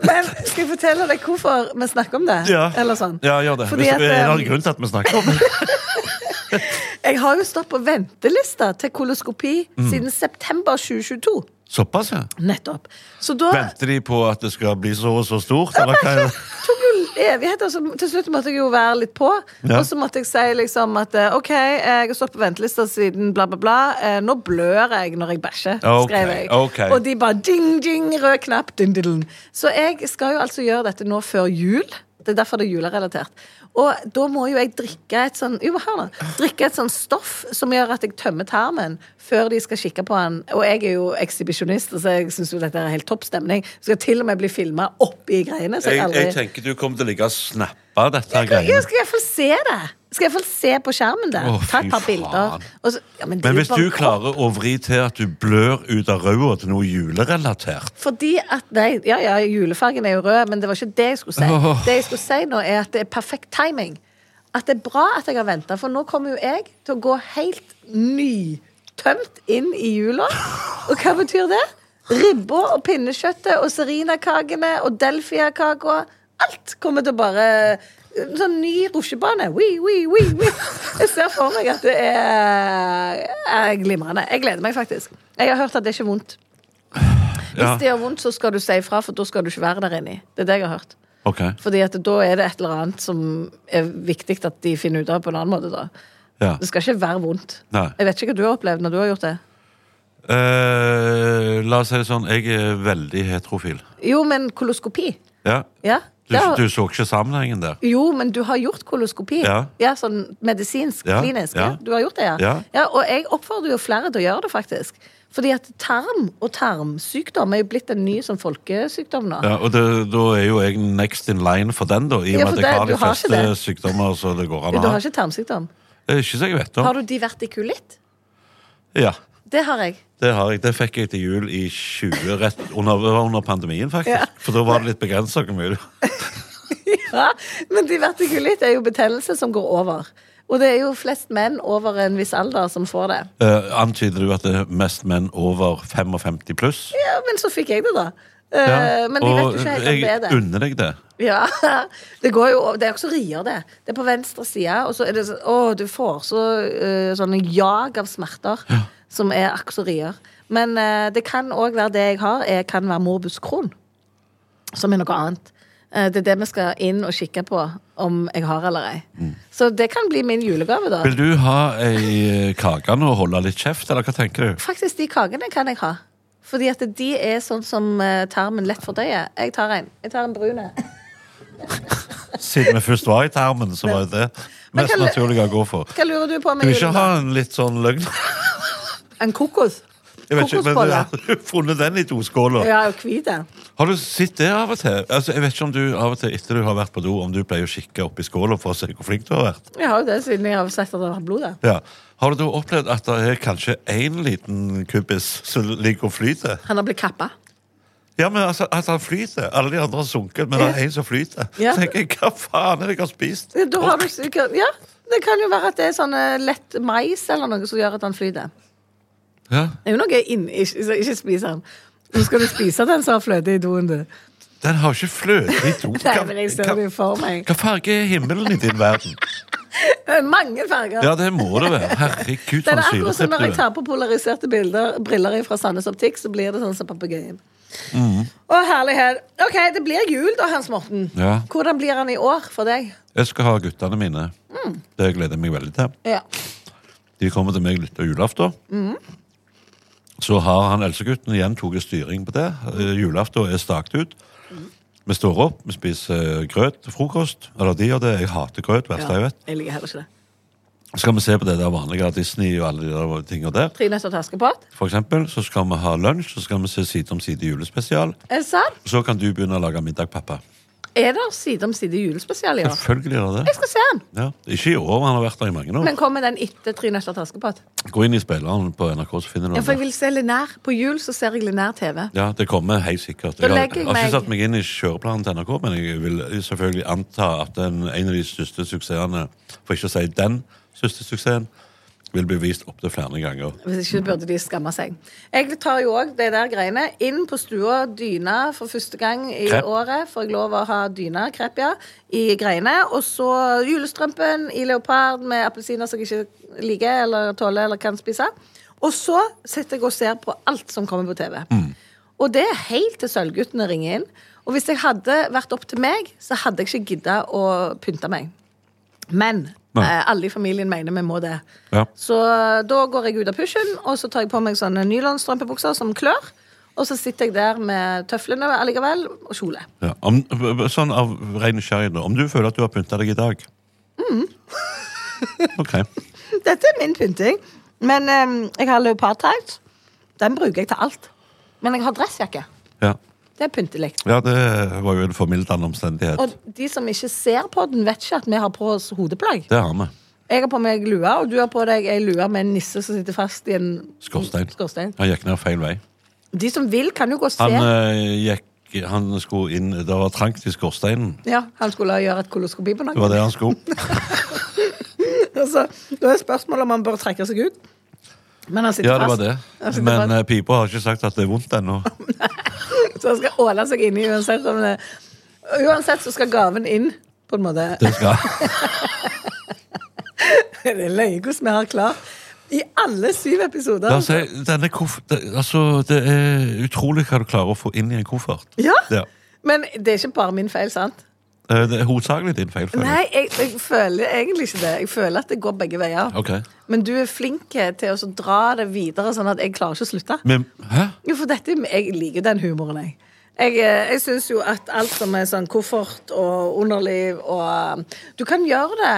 Speaker 5: Men skal jeg fortelle deg hvorfor vi snakker om det?
Speaker 4: Ja,
Speaker 5: Eller sånn
Speaker 4: ja gjør det.
Speaker 5: Fordi
Speaker 4: Hvis
Speaker 5: at,
Speaker 4: det er
Speaker 5: eh,
Speaker 4: en grunn til at vi snakker om det.
Speaker 5: Jeg har jo stått på ventelista til koloskopi siden september 2022.
Speaker 4: Såpass, ja.
Speaker 5: Nettopp. Så da
Speaker 4: Venter de på at det skal bli så og så stort? Eller hva er det?
Speaker 5: tok jo evigheter, så altså, til slutt måtte jeg jo være litt på.
Speaker 4: Ja.
Speaker 5: Og så måtte jeg si liksom at eh, OK, jeg har stått på ventelista siden bla, bla, bla. Eh, Nå blør jeg når jeg bæsjer,
Speaker 4: Ok,
Speaker 5: skrev jeg.
Speaker 4: ok.
Speaker 5: Og de bare ding, ding, rød knapp, ding, ding. Så jeg skal jo altså gjøre dette nå før jul. Det er derfor det er julerelatert. Og da må jo jeg drikke et sånn Jo, hør nå. Drikke et sånn stoff som gjør at jeg tømmer tarmen før de skal kikke på den. Og jeg er jo ekshibisjonist, så jeg syns jo dette er helt topp stemning. Skal til og med bli filma oppi greiene. Så jeg
Speaker 4: Jeg,
Speaker 5: aldri
Speaker 4: jeg tenker du kommer til å ligge og snappe dette her
Speaker 5: jeg
Speaker 4: greiene.
Speaker 5: skal i hvert fall se det. Skal i hvert fall se på skjermen der.
Speaker 4: Å,
Speaker 5: Ta et
Speaker 4: fy
Speaker 5: par bilder.
Speaker 4: faen.
Speaker 5: Og så, ja, men
Speaker 4: Men
Speaker 5: det er jo
Speaker 4: hvis
Speaker 5: bare
Speaker 4: du
Speaker 5: kropp.
Speaker 4: klarer å vri til at du blør ut av røda til noe julerelatert
Speaker 5: Fordi at, nei, ja, ja, Julefargen er jo rød, men det var ikke det jeg skulle si.
Speaker 4: Åh.
Speaker 5: Det jeg skulle si nå, er at det er perfekt timing. At det er bra at jeg har venta, for nå kommer jo jeg til å gå helt nytømt inn i jula. Og hva betyr det? Ribba og pinnekjøttet og serinakakene og delfiakaka. Alt kommer til å bare en Sånn ny rusjebane. Wii, wii, wii, wii. Jeg ser for meg at det er, er glimrende. Jeg gleder meg faktisk. Jeg har hørt at det er ikke vondt.
Speaker 4: Ja,
Speaker 5: Hvis det gjør vondt, så skal du si ifra, for da skal du ikke være der inni. Det er det jeg har hørt.
Speaker 4: ok
Speaker 5: Fordi at da er det et eller annet som er viktig at de finner ut av på en annen måte, da.
Speaker 4: ja.
Speaker 5: Det skal ikke være vondt.
Speaker 4: Nei.
Speaker 5: Jeg vet ikke hva du har opplevd når du har gjort det.
Speaker 4: Eh, La oss si det sånn, jeg er veldig heterofil
Speaker 5: Jo, men koloskopi.
Speaker 4: Ja,
Speaker 5: Ja.
Speaker 4: du,
Speaker 5: det har-
Speaker 4: du så ikke sammenhengen der
Speaker 5: Jo, men du har gjort koloskopi.
Speaker 4: Ja.
Speaker 5: Sånn medisinsk,
Speaker 4: Ja,
Speaker 5: klinisk.
Speaker 4: ja.
Speaker 5: Ja. Du har gjort det, ja.
Speaker 4: Ja.
Speaker 5: Og jeg oppfordrer jo flere til å gjøre det, faktisk. Fordi at tarm og tarmsykdom er jo blitt en ny sånn folkesykdom nå.
Speaker 4: ja, Og det, da er jo jeg next in line for den da I og
Speaker 5: Ja,
Speaker 4: med
Speaker 5: for
Speaker 4: at jeg
Speaker 5: det-
Speaker 4: har
Speaker 5: du
Speaker 4: de
Speaker 5: har ikke
Speaker 4: fleste
Speaker 5: det.
Speaker 4: sykdommer Så det går an
Speaker 5: Du
Speaker 4: å ha
Speaker 5: har ikke tarmsykdom.
Speaker 4: Det er Ikke så jeg vet
Speaker 5: Har
Speaker 4: om
Speaker 5: du divertikulitt?
Speaker 4: Ja,
Speaker 5: Det har jeg.
Speaker 4: det har jeg Det fikk jeg til jul i 20 Rett under, det var under pandemien faktisk
Speaker 5: Ja.
Speaker 4: For da var det litt begrenset hvor mye du-
Speaker 5: Ja, men divertikulitt er jo betennelse som går over. Og det er jo flest menn over en viss alder som får det.
Speaker 4: Eh, Antyder du at det er mest menn over 55 pluss?
Speaker 5: Ja, Men så fikk jeg det, da. Eh,
Speaker 4: Ja,
Speaker 5: Men de vet jo ikke helt om det er
Speaker 4: jeg
Speaker 5: det.
Speaker 4: unner deg det.
Speaker 5: Ja, Det går jo over. Det er også rier, det. Det er på venstre side, og så er det sånn Å, du får så eh, sånne jag av smerter som er akkurat som rier. Men eh, det kan òg være det jeg har, er, kan være morbus Crohn. Som er noe annet. Eh, det er det vi skal inn og kikke på om jeg har eller ei. Så det kan bli min julegave,
Speaker 4: Mm.
Speaker 5: da.
Speaker 4: Vil du ha ei kake nå og holde litt kjeft, eller hva tenker du?
Speaker 5: Faktisk, de kakene kan jeg ha. Fordi at de er sånn som eh, tarmen lett fordøyer. Jeg tar en. Jeg tar en brun en.
Speaker 4: Siden vi først var i tarmen, så var jo det
Speaker 5: Men
Speaker 4: mest
Speaker 5: kan-
Speaker 4: naturlige å gå for.
Speaker 5: Hva lurer du på
Speaker 4: Kan
Speaker 5: med
Speaker 4: du ikke ha
Speaker 5: julegave?
Speaker 4: en litt sånn løgn?
Speaker 5: En kokos?
Speaker 4: Jeg vet ikke, men du
Speaker 5: Kokosbolle.
Speaker 4: har jo funnet den i doskåla.
Speaker 5: Ja, og hvit en.
Speaker 4: Har du sett det av og til? Altså, jeg vet ikke om du av og til etter du har vært på do, om du pleier å kikke oppi skåla for å se hvor flink du har vært.
Speaker 5: Jeg har jo det siden jeg har sett at det har vært blod der.
Speaker 4: Ja. Har du da opplevd at det er kanskje én liten kubbis som ligger og flyter?
Speaker 5: Han har blitt kappa.
Speaker 4: Ja, men altså, at han flyter. Alle de andre har sunket, men det er en som flyter.
Speaker 5: Ja.
Speaker 4: Så tenker jeg, hva faen er det jeg har spist?
Speaker 5: Da har du sikkert Ja, det kan jo være at det er sånn eh, lett mais eller noe som gjør at han flyter.
Speaker 4: Ja,
Speaker 5: Det er jo noe inni Ikke, ikke spis den. Nå skal du spise den som har fløte i doen, du.
Speaker 4: den har ikke fløte i do.
Speaker 5: Nei, men jeg ser
Speaker 4: Hva-
Speaker 5: det jo for meg.
Speaker 4: Hva farge er himmelen i din verden?
Speaker 5: Det er Eh, Mange farger.
Speaker 4: Ja, det må det være. Herregud,
Speaker 5: Det
Speaker 4: for
Speaker 5: er
Speaker 4: en
Speaker 5: akkurat som
Speaker 4: syretripp
Speaker 5: når jeg
Speaker 4: du er.
Speaker 5: tar på polariserte bilder, briller fra Sandnes Optikk, så blir det sånn som papegøyen.
Speaker 4: Mm.
Speaker 5: Å, herlighet. Ok, det blir jul da, Hans Morten.
Speaker 4: Ja.
Speaker 5: Hvordan blir han i år for deg?
Speaker 4: Jeg skal ha guttene mine.
Speaker 5: Mm.
Speaker 4: Det gleder jeg meg veldig til.
Speaker 5: Ja.
Speaker 4: De kommer til meg litt av julaften.
Speaker 5: Mm.
Speaker 4: Så har han eldstegutten igjen tatt styring på det. Eh, Julaften er stakt ut.
Speaker 5: Mm.
Speaker 4: Vi står opp, vi spiser eh, grøt til frokost. Eller de gjør det. Jeg hater grøt. verste jeg vet.
Speaker 5: Jeg liker heller ikke det.
Speaker 4: Så skal vi se på det der vanlige Disney og alle de der tingene der.
Speaker 5: Tre nøtter til Askepott?
Speaker 4: For eksempel, så skal vi ha lunsj, så skal vi se Side om side julespesial.
Speaker 5: Er det sant?
Speaker 4: Så kan du begynne å lage middag, pappa.
Speaker 5: Eh, Er det side om side julespesial i år?
Speaker 4: Selvfølgelig er det
Speaker 5: Jeg
Speaker 4: det.
Speaker 5: skal se den.
Speaker 4: Ja. Ikke i år, men han har vært der i mange år.
Speaker 5: Men kommer den etter Tre nøtter til Askepott?
Speaker 4: Gå inn i spilleren på NRK, så finner du
Speaker 5: Ja,
Speaker 4: den.
Speaker 5: for jeg
Speaker 4: der.
Speaker 5: vil se Linær. På jul så ser jeg Linær TV.
Speaker 4: Ja, det kommer helt sikkert.
Speaker 5: Da
Speaker 4: Jeg har,
Speaker 5: legger jeg
Speaker 4: jeg har ikke
Speaker 5: meg-
Speaker 4: satt meg inn i kjøreplanen til NRK, men jeg vil selvfølgelig anta at den, en av de største suksessene, for ikke å si den største suksessen, vil bli vist opptil flere ganger.
Speaker 5: Hvis ikke burde de skamme seg. Jeg tar jo òg de der greiene inn på stua, dyna for første gang i
Speaker 4: Krepp.
Speaker 5: året. Får jeg lov å ha dyna, krepp, ja, i greiene. Og så julestrømpen i leopard med appelsiner som jeg ikke liker eller tåler eller kan spise. Og så sitter jeg og ser på alt som kommer på TV. Og det er helt til Sølvguttene ringer inn. Og hvis jeg hadde vært opp til meg, så hadde jeg ikke gidda å pynte meg. Men
Speaker 4: Nei.
Speaker 5: eh, alle i familien mener vi må det.
Speaker 4: Ja.
Speaker 5: Så da går jeg ut av pushen, og så tar jeg på meg sånne nylonstrømpebukser som klør. Og så sitter jeg der med tøflene allikevel, og kjole.
Speaker 4: Ja. Om, sånn av ren nysgjerrighet, nå, om du føler at du har pynta deg i dag?
Speaker 5: Mm.
Speaker 4: ok.
Speaker 5: Dette er min pynting. Men eh, jeg har leopardtights. Den bruker jeg til alt. Men jeg har dressjakke.
Speaker 4: Ja.
Speaker 5: Det er pyntelig.
Speaker 4: ja, det var jo en formildende omstendighet.
Speaker 5: Og de som ikke ser på den, vet ikke at vi har på oss hodeplagg.
Speaker 4: Det har vi.
Speaker 5: Jeg har på meg lue, og du har på deg ei lue med en nisse som sitter fast i en
Speaker 4: Skorstein.
Speaker 5: skorstein.
Speaker 4: Han gikk ned feil vei.
Speaker 5: De som vil, kan jo gå og se.
Speaker 4: Han eh, gikk Han skulle inn Det var trangt i skorsteinen.
Speaker 5: Ja, han skulle gjøre et koloskopi på
Speaker 4: Det var
Speaker 5: noen.
Speaker 4: det han skulle.
Speaker 5: Altså, da er spørsmålet om han bør trekke seg ut. Men han sitter
Speaker 4: Ja, det var
Speaker 5: fast.
Speaker 4: det.
Speaker 5: Han sitter
Speaker 4: Men
Speaker 5: fast.
Speaker 4: eh, pipa har ikke sagt at det er vondt ennå.
Speaker 5: Så han skal åle seg inn i uansett om det Uansett så skal gaven inn, på en måte.
Speaker 4: Det skal
Speaker 5: Det er løye hvordan vi har klart. I alle syv episoder.
Speaker 4: La oss si, denne koff... Det, altså, det er utrolig hva du klarer å få inn i en koffert.
Speaker 5: Ja.
Speaker 4: Ja.
Speaker 5: Men det er ikke bare min feil, sant?
Speaker 4: Eh, Det er hovedsakelig din feil. føler jeg.
Speaker 5: Nei, jeg, jeg føler egentlig ikke det. Jeg føler at det går begge veier.
Speaker 4: Ok.
Speaker 5: Men du er flink til å så dra det videre, sånn at jeg klarer ikke å slutte.
Speaker 4: Men Hæ?
Speaker 5: Jo, for dette, jeg liker den humoren, jeg. Jeg, eh, jeg syns jo at alt som er sånn koffert og underliv og eh, Du kan gjøre det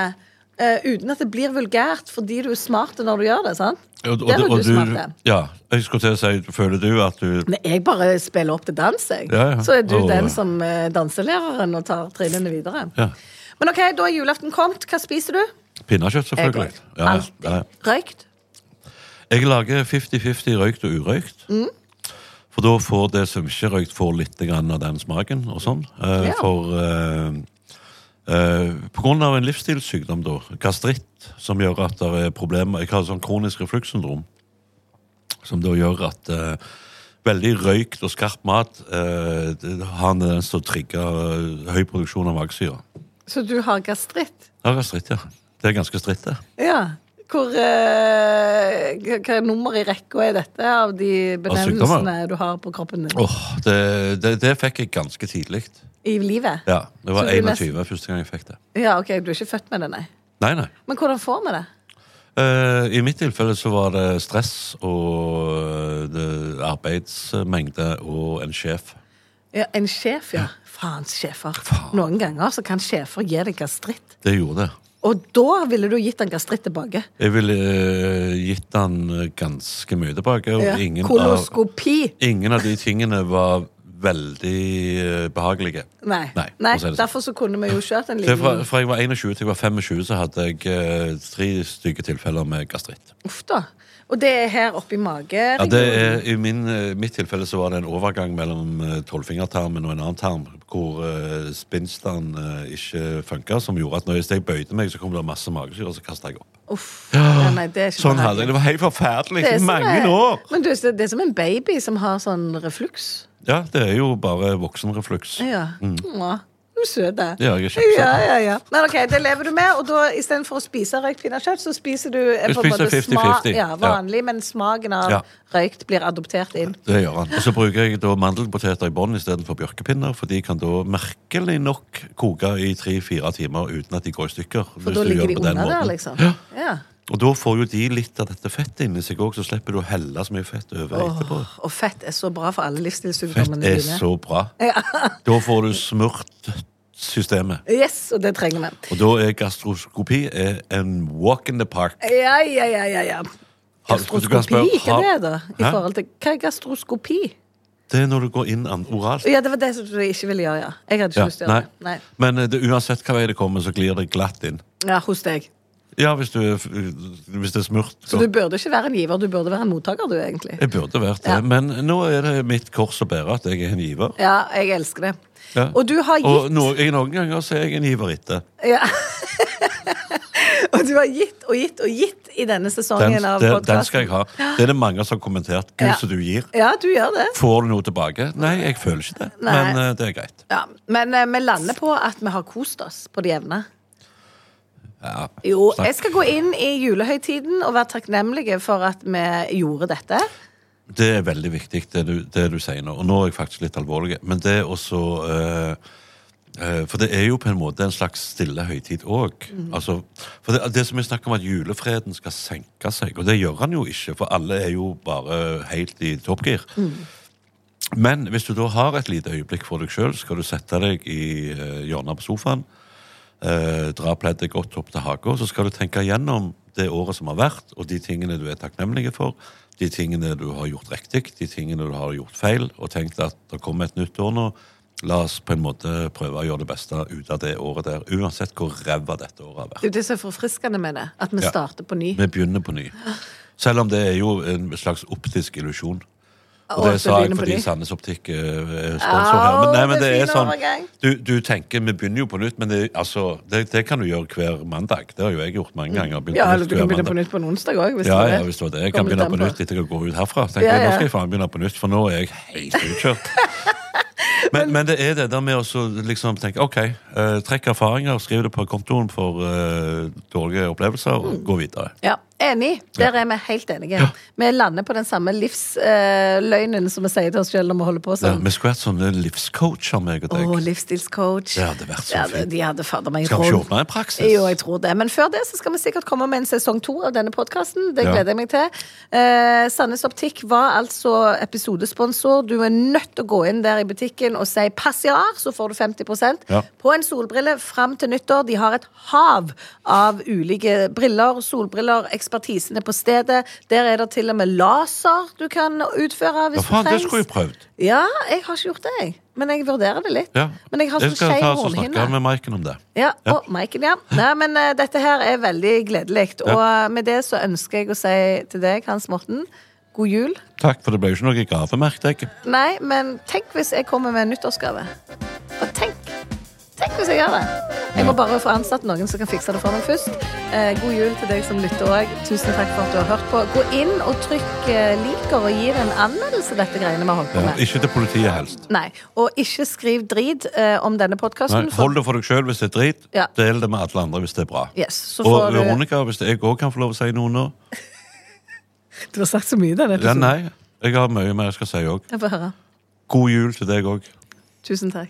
Speaker 5: eh, uten at det blir vulgært, fordi du er smart når du gjør det, sant?
Speaker 4: Og, og,
Speaker 5: Der er
Speaker 4: og,
Speaker 5: du smart,
Speaker 4: du
Speaker 5: det.
Speaker 4: Ja. Jeg skulle til å si, føler du at du
Speaker 5: Men jeg bare spiller opp til dans, jeg.
Speaker 4: Ja, ja.
Speaker 5: Så er du
Speaker 4: Og-
Speaker 5: den som er danselæreren og tar trinnene videre.
Speaker 4: Ja.
Speaker 5: Men OK, da er julaften kommet. Hva spiser du?
Speaker 4: Pinnekjøtt, selvfølgelig. Ja, ja,
Speaker 5: Alltid.
Speaker 4: ja.
Speaker 5: Røykt?
Speaker 4: Jeg lager 50-50 røykt og urøykt. For da får det som ikke er røykt, får litt grann av den smaken og sånn. Eh,
Speaker 5: Ja.
Speaker 4: For eh, eh, På grunn av en livsstilssykdom, da, gastritt, som gjør at det er problemer Jeg har sånn kronisk reflukssyndrom, som da gjør at eh, Veldig røykt og skarp mat eh, det har en tendens til å trigge eh, høy produksjon av magesyre.
Speaker 5: Så du har gastritt?
Speaker 4: Ja, gastritt, ja. Det er ganske stritt, det.
Speaker 5: Ja. Hvor, eh, hva hva nummer i rekka er dette av de benevnelsene
Speaker 4: sykdommer?
Speaker 5: du har på kroppen din?
Speaker 4: Åh, det, det, det fikk jeg ganske tidlig.
Speaker 5: I livet?
Speaker 4: Ja, det var
Speaker 5: Så du
Speaker 4: 21
Speaker 5: nesten-
Speaker 4: første gang jeg fikk det.
Speaker 5: Ja, ok, Du er ikke født med det, nei.
Speaker 4: Nei, nei.
Speaker 5: Men hvordan får vi det?
Speaker 4: Eh, I mitt tilfelle så var det stress og eh, det arbeidsmengde og en sjef.
Speaker 5: Ja, en sjef, ja. Faens sjefer. Noen ganger så kan sjefer gi deg gastritt.
Speaker 4: Det gjorde det.
Speaker 5: Og da ville du gitt han gastritt tilbake.
Speaker 4: Jeg ville eh, gitt han ganske mye tilbake. Og
Speaker 5: Ja.
Speaker 4: ingen, av,
Speaker 5: Koloskopi.
Speaker 4: ingen av de tingene var veldig eh, behagelige.
Speaker 5: Nei.
Speaker 4: Nei,
Speaker 5: Nei.
Speaker 4: for å si det sånn.
Speaker 5: Derfor så kunne vi jo kjørt en
Speaker 4: Det er
Speaker 5: liten
Speaker 4: fra, fra jeg var 21 til jeg var 25, så hadde jeg eh, tre stygge tilfeller med gastritt.
Speaker 5: Uff, da. Og det er her oppe i
Speaker 4: Ja, det er,
Speaker 5: mageregionen.
Speaker 4: I min, eh, mitt tilfelle så var det en overgang mellom eh, tolvfingertarmen og en annen tarm hvor uh, spinsteren eh, ikke funka, som gjorde at når jeg bøyde meg, så kom det masse magesyre, og så kasta jeg opp.
Speaker 5: Uff. Ja, nei, det er ikke
Speaker 4: Sånn hadde
Speaker 5: behagelig.
Speaker 4: jeg det. var helt forferdelig.
Speaker 5: Det er
Speaker 4: i
Speaker 5: som
Speaker 4: Mange
Speaker 5: en-
Speaker 4: år!
Speaker 5: Men du, det er som en baby som har sånn refluks.
Speaker 4: Ja, det er jo bare voksenrefluks.
Speaker 5: Ja. Åh, Du er søt, da.
Speaker 4: Mm. Ja, jeg er kjempesøt.
Speaker 5: ja, ja, ja. Men ok, det lever du med, og da istedenfor å spise røykt pinakjøtt, så spiser du eh,
Speaker 4: Du
Speaker 5: på en
Speaker 4: spiser
Speaker 5: måte
Speaker 4: 50-50.
Speaker 5: ja,
Speaker 4: Ja.
Speaker 5: vanlig, men smaken av
Speaker 4: Ja.
Speaker 5: røykt blir adoptert inn.
Speaker 4: Det gjør han. Og så bruker jeg da mandelpoteter i bånn istedenfor bjørkepinner, for de kan da merkelig nok koke i tre-fire timer uten at de går i stykker.
Speaker 5: For da ligger de under der, liksom.
Speaker 4: Ja.
Speaker 5: Ja.
Speaker 4: Og da får jo de litt av dette fettet inni seg òg, så slipper du å helle så mye fett over etterpå.
Speaker 5: Åh, og fett er så bra for alle livsstilssykdommene
Speaker 4: Fett er
Speaker 5: dine.
Speaker 4: så bra. Da får du smurt systemet.
Speaker 5: Yes, og det trenger vi.
Speaker 4: Og da er gastroskopi er en walk in the park.
Speaker 5: Ja, ja, ja, ja, ja.
Speaker 4: Har- du kan
Speaker 5: Gastroskopi,
Speaker 4: spørre-
Speaker 5: hva
Speaker 4: har-
Speaker 5: er det, da? I
Speaker 4: Hæ?
Speaker 5: forhold til, hva er gastroskopi?
Speaker 4: Det er når du går inn an- oralt.
Speaker 5: Ja, det var det som du ikke ville gjøre, ja. Jeg hadde ikke
Speaker 4: Ja,
Speaker 5: lyst til å gjøre det. Nei.
Speaker 4: Men eh, det, uansett hva vei det kommer, så glir det glatt inn.
Speaker 5: Ja, hos deg.
Speaker 4: Ja, hvis, du, er f- hvis det er smurt.
Speaker 5: Så du burde ikke være en giver, du burde være en mottaker, du, egentlig.
Speaker 4: Jeg burde vært det,
Speaker 5: Ja.
Speaker 4: men eh, nå er det mitt kors å bære at jeg er en giver.
Speaker 5: Ja, jeg elsker det.
Speaker 4: Ja.
Speaker 5: Og du har gitt
Speaker 4: Og no, jeg, noen ganger så er jeg en giver etter.
Speaker 5: ja. Og du har gitt og gitt og gitt i denne sesongen
Speaker 4: Den,
Speaker 5: av
Speaker 4: den,
Speaker 5: podcasten.
Speaker 4: den skal jeg ha. Det er det mange som har kommentert. Gud,
Speaker 5: Ja.
Speaker 4: så du gir.
Speaker 5: Ja, du gjør det.
Speaker 4: Får du noe tilbake? Nei, jeg føler ikke det.
Speaker 5: Nei.
Speaker 4: Men eh, det er greit.
Speaker 5: Ja. Men eh, vi lander på at vi har kost oss på det jevne.
Speaker 4: Ja.
Speaker 5: Jo,
Speaker 4: Snakk.
Speaker 5: jeg skal gå inn i julehøytiden og være takknemlige for at vi gjorde dette.
Speaker 4: Det er veldig viktig, det du, det du sier nå. Og nå er jeg faktisk litt alvorlig. Men det er også eh, eh, For det er jo på en måte en slags stille høytid òg.
Speaker 5: Mhm.
Speaker 4: Altså, for det, det som er snakk om at julefreden skal senke seg, og det gjør han jo ikke, for alle er jo bare helt i toppgir.
Speaker 5: Mhm.
Speaker 4: Men hvis du da har et lite øyeblikk for deg sjøl, skal du sette deg i eh, hjørnet på sofaen, eh, dra pleddet godt opp til hagen, så skal du tenke gjennom det året som har vært, og de tingene du er takknemlige for, de tingene du har gjort riktig, de tingene du har gjort feil, og tenkt at det kommer et nytt år nå. La oss på en måte prøve å gjøre det beste ut av det året der, uansett hvor ræva dette året har vært.
Speaker 5: Det er jo det som er forfriskende med det. At vi
Speaker 4: Ja.
Speaker 5: starter på ny.
Speaker 4: Vi begynner på ny. Selv om det er jo en slags optisk illusjon. Og
Speaker 5: Og
Speaker 4: det
Speaker 5: at vi
Speaker 4: sa jeg
Speaker 5: begynner på
Speaker 4: fordi
Speaker 5: ny.
Speaker 4: Sandnes Optikk eh, er sponsor her. Men, nei,
Speaker 5: Au,
Speaker 4: men det
Speaker 5: det er
Speaker 4: er
Speaker 5: fin
Speaker 4: sånn,
Speaker 5: overgang.
Speaker 4: du, du tenker vi begynner jo på nytt, men det, altså, det, det kan du gjøre hver mandag. Det har jo jeg gjort mange ganger. begynt
Speaker 5: Mm. Ja,
Speaker 4: på
Speaker 5: eller
Speaker 4: nytt
Speaker 5: du kan
Speaker 4: hver
Speaker 5: begynne
Speaker 4: mandag.
Speaker 5: på nytt på en onsdag òg.
Speaker 4: Ja, ja, hvis det var det. Jeg kan begynne på nytt etter jeg går ut herfra. Tenker
Speaker 5: Ja,
Speaker 4: jeg,
Speaker 5: ja.
Speaker 4: Nå skal jeg faen begynne på nytt, for nå er jeg helt utkjørt. Men, men det er det der med å så liksom tenke OK, eh, trekk erfaringer, skriv det på kontoen for eh, dårlige opplevelser,
Speaker 5: Mm.
Speaker 4: og gå videre.
Speaker 5: Ja, Enig. Der er vi helt enige. Vi lander på den samme livsløgnen som vi sier til oss selv når vi holder på
Speaker 4: Ja,
Speaker 5: sånn.
Speaker 4: vi skulle hatt sånne livscoacher, meg og
Speaker 5: Å,
Speaker 4: deg.
Speaker 5: livsstilscoach.
Speaker 4: Det hadde vært så
Speaker 5: Ja, det-
Speaker 4: fint.
Speaker 5: De hadde fader meg
Speaker 4: Skal vi ikke
Speaker 5: råd.
Speaker 4: åpne en praksis?
Speaker 5: Jo, jeg tror det. Men før det så skal vi sikkert komme med en sesong to av denne podkasten. Det
Speaker 4: Ja.
Speaker 5: gleder jeg meg til. Eh, Sandnes Optikk var altså episodesponsor. Du er nødt til å gå inn der i butikken og si 'passiar', så får du 50
Speaker 4: Ja.
Speaker 5: på en solbrille fram til nyttår. De har et hav av ulike briller, solbriller, ekspertisene på stedet. Der er det til og med laser du kan utføre
Speaker 4: Ja,
Speaker 5: hvis
Speaker 4: faen, det
Speaker 5: det trengs.
Speaker 4: skulle jeg prøvd.
Speaker 5: Ja, jeg har ikke gjort det, jeg. Men jeg vurderer det litt.
Speaker 4: Ja.
Speaker 5: Men jeg har sånn
Speaker 4: skal
Speaker 5: skeiv
Speaker 4: ta oss og
Speaker 5: hornhinne.
Speaker 4: snakke med Maiken om det.
Speaker 5: Ja,
Speaker 4: Ja.
Speaker 5: og Maiken, ja. Nei, men eh, dette her er veldig gledelig. Og eh, med det så ønsker jeg å si til deg, Hans Morten, god jul.
Speaker 4: Takk, for det ble jo ikke noe gave, merket jeg.
Speaker 5: Nei, men tenk hvis jeg kommer med en nyttårsgave. Og tenk. Tenk hvis jeg gjør det. Jeg må bare få ansatt noen som kan fikse det for meg først. Eh, god jul til deg som lytter òg. Tusen takk for at du har hørt på. Gå inn og trykk eh, liker og gi det en anmeldelse, dette greiene vi har holdt på
Speaker 4: Ja,
Speaker 5: med.
Speaker 4: ikke til politiet helst.
Speaker 5: Nei, Og ikke skriv drit eh, om denne
Speaker 4: Nei,
Speaker 5: podkasten.
Speaker 4: hold det for deg sjøl hvis det er drit.
Speaker 5: Ja.
Speaker 4: Del det med alle andre hvis det er bra.
Speaker 5: Yes, så
Speaker 4: og
Speaker 5: får du-
Speaker 4: Veronica, hvis jeg òg kan få lov å si noe nå
Speaker 5: Du har sagt så mye i denne
Speaker 4: ja,
Speaker 5: episoden.
Speaker 4: Nei, jeg har mye mer jeg skal si òg.
Speaker 5: Jeg får høre.
Speaker 4: God jul til deg òg.
Speaker 5: Tusen takk.